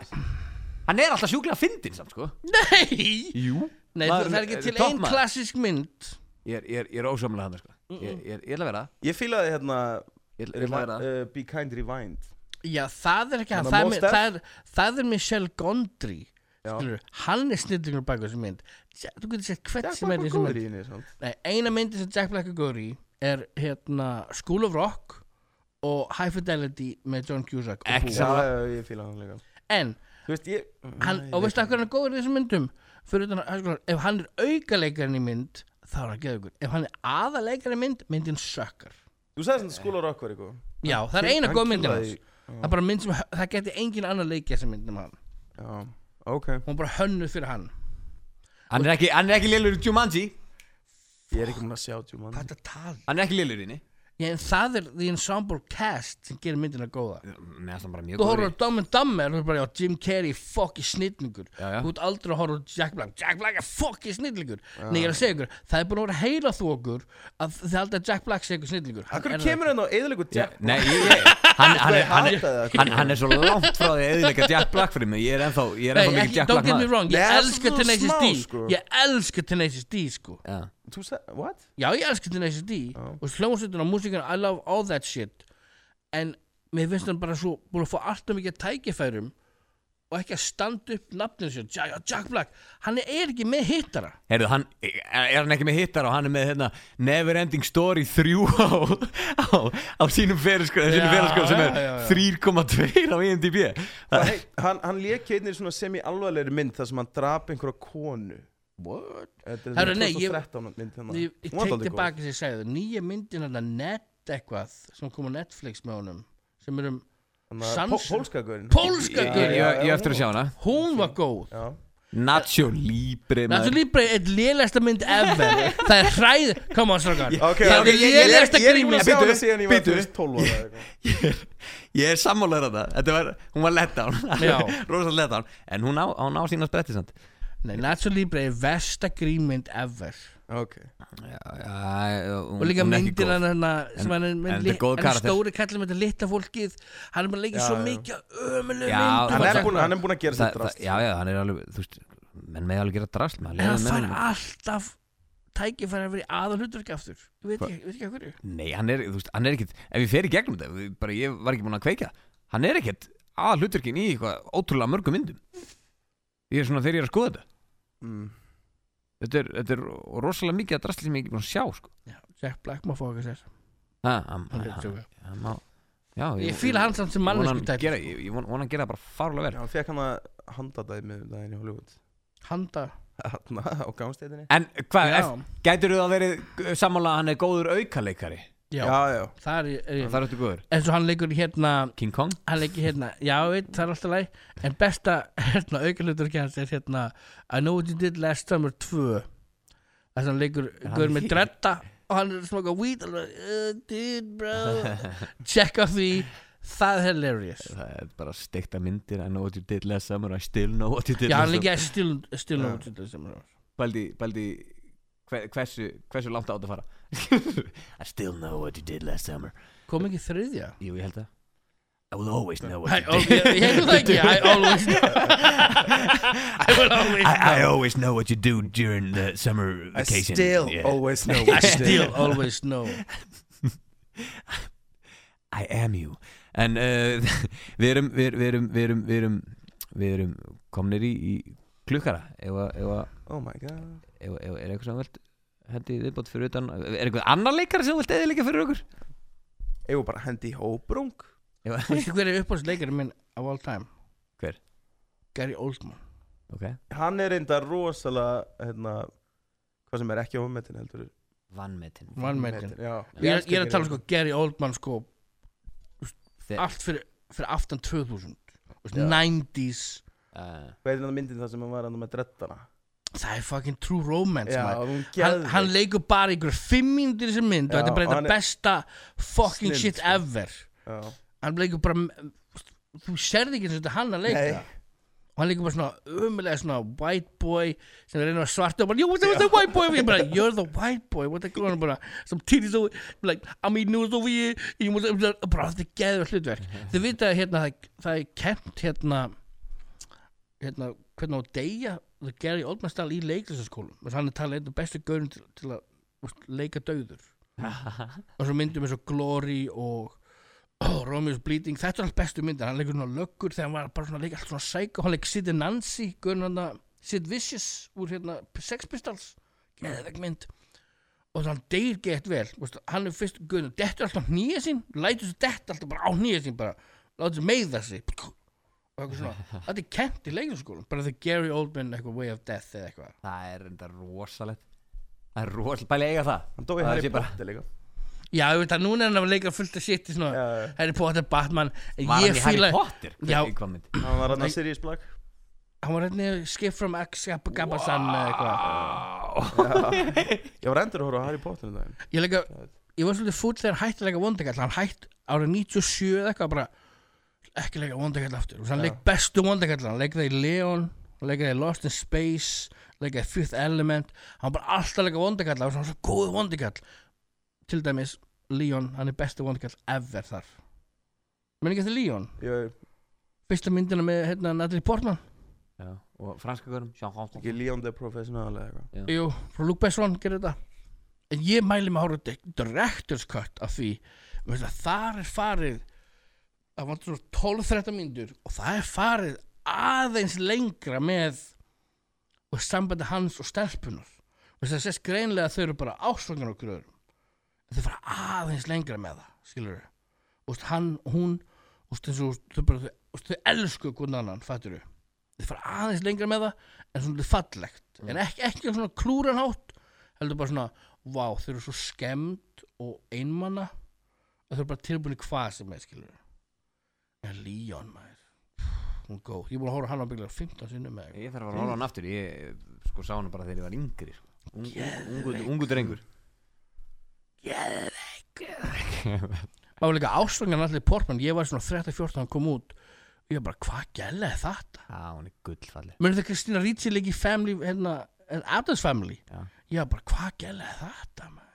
S2: hann er alltaf sjúklega fyndin samt sko
S3: Nei,
S2: Jú
S3: Nei
S2: Maður-
S3: það er ekki til
S2: topp
S3: ein
S2: maður.
S3: klassisk mynd
S2: Ég er, ég er, ég er ósamalega hann sko ég, ég, er- ég ætla að vera
S1: Ég fílaði hérna
S2: Ég, ég ætla að vera
S1: uh, Be Kind Rewind
S3: Já, það er ekki hann
S1: Þannig að
S3: það er,
S1: Most
S3: með- það, er, það er Michelle Gondry
S1: Já.
S3: Skilur, Hann er snillingur baka þessu mynd Ja, Þú getur sett hvert
S1: Jack
S3: sem er
S1: Black var
S3: í þessu
S1: góður
S3: mynd
S1: í henni samt.
S3: Nei, eina myndi sem Jack Black er góður í er hérna School of Rock og High Fidelity með John Cusack og
S2: Ekki
S3: Boo.
S1: Já,
S2: Sammála.
S1: já, ég fílaði hann líka
S3: En
S1: Þú veist, ég
S3: hann,
S1: Æ, ég-
S3: og veistu að hvernig hann er góður í þessum myndum fyrir utan að, sko, ef hann er aukaleikar í mynd þá er hann geðugur, ef hann er aðaleikar í mynd, myndin sökkar
S1: Þú sagði svona skóla rockvar eitthvað
S3: já, það er eina
S1: Hann
S3: góð myndin
S1: kýlaði-
S3: hans það er bara mynd sem, það geti engin annar leikja sem myndin um hann,
S1: Já, ok
S3: hún er bara hönnuð fyrir hann
S2: Hann er ekki, hann er ekki lélur í Jumanji
S1: Ég er ekki mun að sjá tjúman
S3: hvað er þetta tal?
S2: Hann er ekki lélur í henni
S3: Já, en það er the ensemble cast sem gerir myndina góða
S2: Nei, það er bara mjög
S3: þú
S2: góður
S3: horfður á Dumb and Dumber og þú er bara, já, Jim Carrey fokki snillingur
S2: Já, já.
S3: þú ert aldrei að horfa á Jack Black Jack Black er fokki snillingur nei, ég er að segja ykkur, það er búin að vera heila þókur að þið haldið að Jack Black sé ykkur snillingur Hann
S1: Akkur
S3: er það
S1: kemur hann á eðalegu
S2: Já,
S1: Jack
S2: Nei, ég, ég, hann, hann, er- hann,
S1: hataði það,
S2: er, hann, hann er svo langt frá því að eðilega Jack Black fyrir mig Ég er ennþá, ég er
S3: Nei,
S2: ennþá mikið
S3: ekki,
S2: Jack
S3: don't
S2: Black
S3: get me
S2: maður
S3: wrong, ég
S1: Nei, það er
S3: elska
S1: svo
S3: Tenacious
S1: smá,
S3: D
S1: sko.
S3: Ég elska Tenacious D, sko
S2: Já.
S1: Þú sagði, what?
S3: Já, ég elska Tenacious D
S1: Já.
S3: Og hljómsveitin og músíkan, I love all that shit En mér finnst hann bara svo búin að fá alltaf mikið tækifærum og ekki að standa upp nafninu sér Jack, Jack Black, hann er ekki með hittara
S2: Heyrðu, hann, er hann ekki með hittar og hann er með hérna, Never Ending Story 3 á, á, á sínum ferskóð
S3: Já,
S2: sem er
S3: já, já, já.
S2: 3,2 á IMDb
S1: Hvað, hey, hann, hann lék einnig svona semi-alvarlegri mynd þar sem hann drap einhverja konu
S3: What?
S1: Þetta er
S3: Herra,
S1: svona
S3: nei, ég-
S1: 2013 mynd hérna
S3: Ég,
S1: Hún var
S3: ég tek
S1: dálítið góð.
S3: tilbaka sem ég sagði það Nýja myndin hann að net eitthvað sem kom á Netflix með honum sem er um
S1: Þannig að
S3: Samson.
S1: pó- Pólska gaurinn
S3: pólska
S2: Ég, ég,
S3: gurri
S2: ég, ég eftir að sjá hana
S3: Hún var góð
S1: Já,
S2: Nacho Libre maður.
S3: Nacho Libre er eitt lélægsta mynd ever Það er hræð Come on, strákar
S1: ok
S3: Það
S2: ég-
S3: er
S2: ég- ég-
S3: lélægsta
S1: Ég er ekki búin
S3: grímið
S1: að sjá
S2: Bíddu,
S1: hana síðan ég var
S2: bíddu.
S1: 12 ára eða eitthvað.
S2: ég, er- *laughs* ég er sammálaður að það Þetta var, hún var letdown
S3: Já.
S2: *laughs* Rósa letdown En hún á, hún á sína spretti samt
S3: Nei, Nacho Libre er versta grímynd ever
S1: Ok
S2: já, já, hún,
S3: Og líka
S2: hún er ekki
S3: myndir
S2: góð.
S3: hann hann að- sem
S2: En-
S3: hann er
S2: en
S3: með
S2: þetta er
S3: lit-
S2: góð
S3: hann er
S2: karakter.
S3: stóri kallið með þetta litla fólkið Hann er bara leikið
S1: Já,
S3: svo
S1: já.
S3: mikið ömuleg
S2: Já,
S3: mynd
S1: Hann
S2: var
S1: er
S2: það-
S1: búinn- hann er búinn að gera sér
S2: Það- það-
S1: drast
S2: Já, já, hann er alveg, þú veist Menn með alveg gera drast með
S3: En hann
S2: leiða
S3: fær
S2: menn-
S3: alltaf tækifæri að vera í aðal hlutverk aftur Ég veit ekki, ég veit ekki að hverju
S2: Nei, hann er, þú veist, hann er ekkit Ef ég fer í gegnum þetta, við- bara ég var ekki búin að kveika Hann er ekkit að hlutverkin í eitthvað ótrúlega mörgum myndum Ég er svona þegar ég er að skoða þetta
S1: Mm.
S2: Þetta er, þetta er rosalega mikið að drastli sem ég er ekki búin að sjá sko.
S3: Já, Jack Black má fá okkar sér
S2: ha, hann,
S3: Hann
S2: hann,
S3: er að
S2: hann,
S3: tjóka.
S2: hann, má- já,
S3: Ég fíla hann samt sem sko.
S2: vona
S3: mannesku
S2: hann
S3: tætt
S2: gera, Ég, ég von, vona hann gera bara
S1: Já,
S2: farulega vel
S1: hann fekk hann að handa það með daginn í Hollywood
S3: Handa
S1: Þarna á gangstætinni
S2: En hvað,
S3: Já.
S2: ef- gætirðu það verið uh, sammála að hann er góður aukaleikari
S3: Já,
S1: Já, já
S3: þar er, er ég
S2: Það er þetta góður
S3: En svo hann leikur í hérna
S2: King Kong
S3: Hann leikur í hérna Já, veit, það er alltaf læg En besta hérna, aukalutur hans er hérna I know what you did last summer 2 Þess að hann leikur
S2: hann
S3: Guður með
S2: í-
S3: dretta Og hann er að smaka weed alveg, uh, Dude, *laughs* bro Check á því Það er hilarious
S2: Það er bara steikta myndir I know what you did last summer I still know what you did
S3: Já, hann
S2: last summer
S3: leikur í stilnum Stilnum
S1: Já.
S3: út í þessum
S2: Baldi, Baldi hve- hversu, hversu langt átt að fara *laughs* I still know what you did last summer
S3: Kom ekki þriðja
S2: Jú, ég held það I will always know what
S3: Æ,
S2: you
S3: ó,
S2: did
S3: Ég ég hefði það ekki I always
S2: *laughs*
S3: I will always
S2: I, I always know what you do during the summer vacation Yeah.
S3: *laughs*
S1: always know
S3: I still always know
S2: I am you En uh, *laughs* við erum Við við erum Við erum Við erum, við erum komnir í, í klukkara Ef að ef að-
S1: Oh my god
S2: ef- ef- er eitthvað sem þú vilt hendi í viðbót fyrir utan er eitthvað annar leikari sem þú vilt eða líka fyrir okkur
S1: Eða bara hendi í hóbrung
S2: Ef *laughs* að-
S3: Veistu hver er uppáhaldsleikarinn minn of all time?
S2: Hver?
S3: Gary Oldman
S2: ok
S1: Hann er reynda rosalega hérna, Hvað sem er ekki ofmetin heldur
S2: vannmetin
S3: Vanmetin
S1: Já
S3: Ég er ég er að tala um sko Gary Oldman sko
S2: Þe-
S3: Allt fyrir, fyrir aftan 2000 Þú veist,
S1: Eh. Já.
S3: 90s
S2: uh,
S1: Hvað er það myndin það sem hann var hann með dreddana
S3: Það er fucking true romance
S1: Já,
S3: maður.
S1: hún
S3: hann,
S1: gerði
S3: hann leikur bara ykkur fimm mínútur í þessum mynd og
S1: Já,
S3: þetta er bara
S1: og hann
S3: þetta
S1: er-
S3: besta fucking
S1: Snild,
S3: shit
S1: sko.
S3: ever
S1: Já,
S3: hann leikur bara þú serði ekki eins og þetta er hann að leika
S1: Nei.
S3: og hann leikur bara svona umulega svona white boy sem er reynir að svarta og bara, you what the white boy og ég bara, you're the white boy, what the girl og hann bara, some titties over, like I mean news over you, you must, og bara þetta er geður hlutverk, þau vita að hérna það, það er kent hérna hérna, hvernig á að deyja það Gary Oldman stall í leiklæsaskólum og hann er talað einn og bestu gaurin til, til að þú veist, leika dauður og svo myndum eins og Glory og oh, Romeo's Bleeding þetta er allt bestu myndir, hann leikur svona löggur þegar hann var bara svona leik allt svona sæk hann leik Sid and Nancy, gurn hann að Sid Vicious úr hérna Sex Pistols geðveg mynd og þannig deyr gett vel, veist, hann er fyrst gurn, dettur alltaf nýja sín lætur svo dett alltaf bara á nýja sín bara, látur svo meiða sig og eitthvað
S2: *laughs*
S3: svona, þetta er kent í leikurskólum bara the Gary Oldman eitthvað Way of Death eða eitthvað
S2: *laughs* það er enda rosalegt það er rosalegt bæli eiga það
S1: hann dói
S2: Það
S1: Harry
S2: sé bara-
S1: Potter líka
S3: já, ég veit að núna er hann að leika fullt af shit í svona
S1: Já, já.
S3: Harry Potter, Batman
S2: var
S3: en ég
S2: hann í Harry
S3: fíla-
S2: Potter Hver-
S3: Já.
S2: í hvað mynd?
S1: Hann var hann
S3: Nei.
S1: að Sirius *laughs* Black
S3: hann var hérna skip from X Gabasan wow. eitthvað
S1: Ég var endur að horfa á Harry Potter um daginn
S3: ég, leika, ég var svolítið fúll þegar hann hætti að leika vondekall hann hætt árið 97 eða eitthvað bara ekki leika vondekall aftur og hann
S1: Já.
S3: leik bestu vondekall hann leik það í Leon hann leik það í Lost in Space leik það í Fifth Element hann var bara alltaf að leika vondekall hann var svona svo góð vondekall til dæmis Leon hann er bestu vondekall ever þar menn ekki þetta Leon
S1: Ég
S3: fyrsta myndina með hérna Natalie Portman
S2: *laughs* Já. og franska görum Sean Connery.
S1: ekki Leon the Professional eða eitthvað
S3: Jú, frá Luke Besson gerir þetta En ég mæli mig að horfa á director's cut af því veistu að þar er farið það vantur svona 12-13 mínútur og það er farið aðeins lengra með og sambandi hans og stelpunar Veistu, það sést greinlega að þau eru bara ásvöngan okkur öðrum en þau fara aðeins lengra með það skilur þau Vist, hann og hún vist, og, þau, bara, þau, vist, þau elsku hvernig annan fattur þau þau fara aðeins lengra með það en svona lítið fallegt en ekki, ekki á svona klúranhátt heldur bara svona, vá, þau eru svo skemmt og einmana og þau eru bara tilbúin í hvað sem er skilur en Leon maður hún er góð, ég er búin að hóra hann á bygglega 15 sinnum með
S2: ég þarf að rála hann aftur ég sko sá hann bara þegar ég var yngri sko. Ung- ung- ungu,
S3: Geðveikt.
S2: ungu drengur
S3: maður var líka ásvangan allir portmann, ég var svona 13-14 hann kom út og ég var bara, hvað gælaði þetta
S2: já, hún er gullfalli
S3: mörðu það Kristina Ricci leik í Family hérna, en Adams Family
S2: Já.
S3: ég var bara, hvað gælaði þetta maður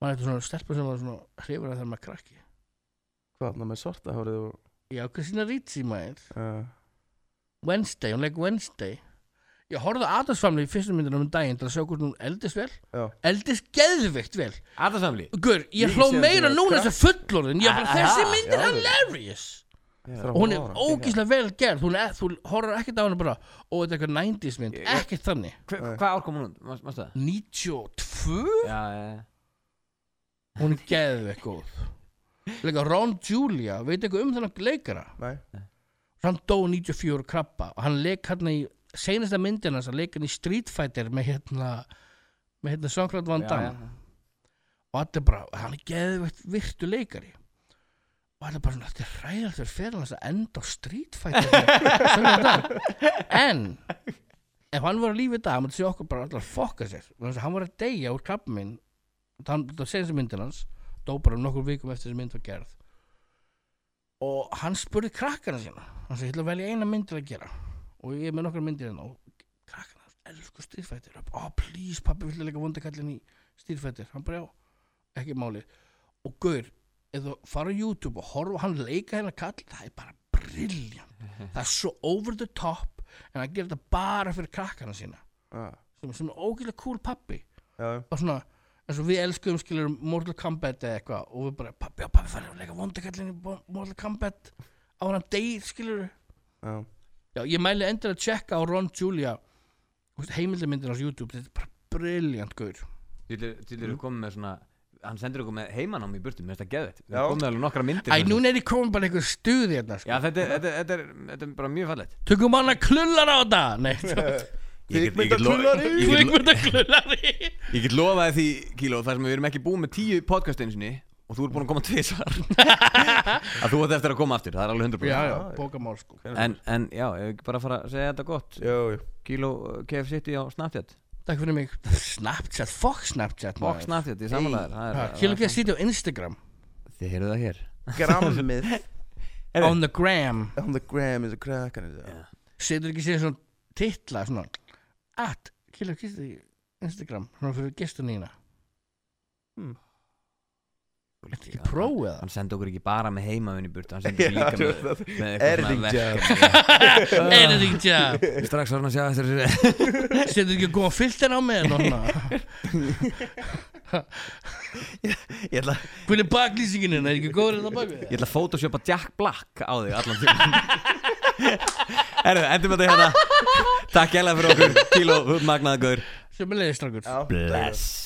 S3: maður er þetta svona stelpa sem var svona hrifur að þegar maður krakki
S1: Hvað hann með svarta hárið og
S3: já, Kristina Ricci maður
S1: uh,
S3: Wednesday, hún leik Wednesday ég horfði á Adams Family í fyrstu myndunum um daginn til að sjá hvernig hún eldist vel
S1: Já.
S3: eldist geðvikt vel
S2: aðarsamli
S3: Gur, ég
S1: Ég
S3: hló
S1: sé
S3: meira
S1: þetta
S3: núna
S1: krakk.
S3: þessi fullorðin ég bara,
S2: Ah,
S3: þessi
S2: ah,
S3: mynd er
S1: já,
S3: hilarious
S1: þrjá
S3: og hún er
S1: ára.
S3: ógíslega vel gerð hún er, þú horfður ekkert á henni bara og þetta er eitthvað 90s mynd,
S2: Ég-
S3: ekkert þannig
S2: hvað ár kom hún út? Manst- manstu það?
S3: 92?
S2: Eh. já, já, já.
S3: hún er geðvikt góð leika Ron Julia, veit eitthvað um þennan leikara
S1: Nei,
S3: hann dó 94 úr krabba og hann leik hann í seinasta myndina hann leik hann í Street Fighter með hérna með hérna Sjöngrætt Van
S2: Já, já.
S3: Damme og þetta er bara, hann er geðveitt virtu leikari og hann er bara svona, þetta er ræðilegt fyrir fyrir hans að enda á Street Fighter *laughs* með Jean-Claude Van Damme. en ef hann var að lífi í dag hann myndi sé okkur bara allar fokka sér Vegna þess að hann var að deyja úr krabba minn það seinasta myndin hans dó bara um nokkur vikum eftir þessi mynd var gerð og hann spurði krakkana sína hann sagði, ég ætla að velja eina mynd til að gera og ég er með nokkra myndir hérna og krakkana elsku Street Fighter oh please pappi vilja leika vondakallin í Street Fighter hann bara já, ekki máli og gaur, ef þú fara á YouTube og horfa á hann leika hennar kall það er bara brilljant það er svo over the top en hann gerir þetta bara fyrir krakkana sína
S1: Já,
S3: sem er svona ógæðlega cool pappi
S1: já,
S3: og svona eins og við elskuðum skilur Mortal Kombat eða eitthvað og við bara pappi, já pappi farið að leika vondakallin í Bo- Mortal Kombat á hann deyr skilur
S1: já
S3: já, ég mæli endur að tjekka á Ron Julia heimildamindin á YouTube þetta er bara briljant gaur
S2: Til eru komið með svona Hann sendir okkur með heimanám í burtu Mér finnst það geðvett Við
S1: Já.
S2: erum komið alveg nokkra myndir
S3: Æ,
S2: hérna.
S3: núna er ég komin bara einhver stuði hérna sko.
S2: Já, þetta er- þetta er- þetta er þetta er bara mjög fallegt
S3: Tökum hann að klullar á þetta *laughs* Nei,
S1: Kvikmyndaklúðrari!
S3: kvikmynda klullari *laughs*
S2: Ég get lofaði því, Kíló, þar sem við erum ekki búið með tíu podcast einu sinni og þú er búin að koma
S3: *laughs*
S2: tvisar að þú átt eftir að koma aftur, það er alveg 100%
S3: Já, já, bókamál sko
S2: En, en já, ég vil bara fara að segja þetta gott
S1: Jú, jú
S2: Kíló uh, KF City á Snapchat
S3: Takk fyrir mig Snapchat, fuck Snapchat
S2: Bokk Snapchat, ég samanlega þér
S3: Kílum ekki að sitja á Instagram
S2: Þið heyrðu það hér *laughs*
S1: Grammið
S2: Heyrðu.
S3: On the gram
S1: On the gram is a crack and it's-
S2: Já.
S3: Setur ekki sér svona titla svona At, kílum ekki að sitja á Instagram Svona fyrir gestunina
S1: Hmm.
S3: Þetta er prófið það
S2: Hann sendi okkur ekki bara með heimavinni burt Hann sendi okkur líka með,
S1: það-
S2: með
S1: Editing job.
S3: *laughs*
S2: job
S3: Editing job
S2: Strax var hann að sjá eftir þessu
S3: Setur ekki að góða filter á mig
S2: *laughs* Ég ætla,
S3: Hvernig baklýsingin hérna? er, er ekki góður þetta bakvið
S2: ég ætla að photoshopa Jack Black á þig allan *laughs* tíma Herru, endum þetta hérna Takk hella fyrir okkur Kíló, þú ert magnaðagur
S3: Sem er leiðistrákur
S1: Já.
S2: Bless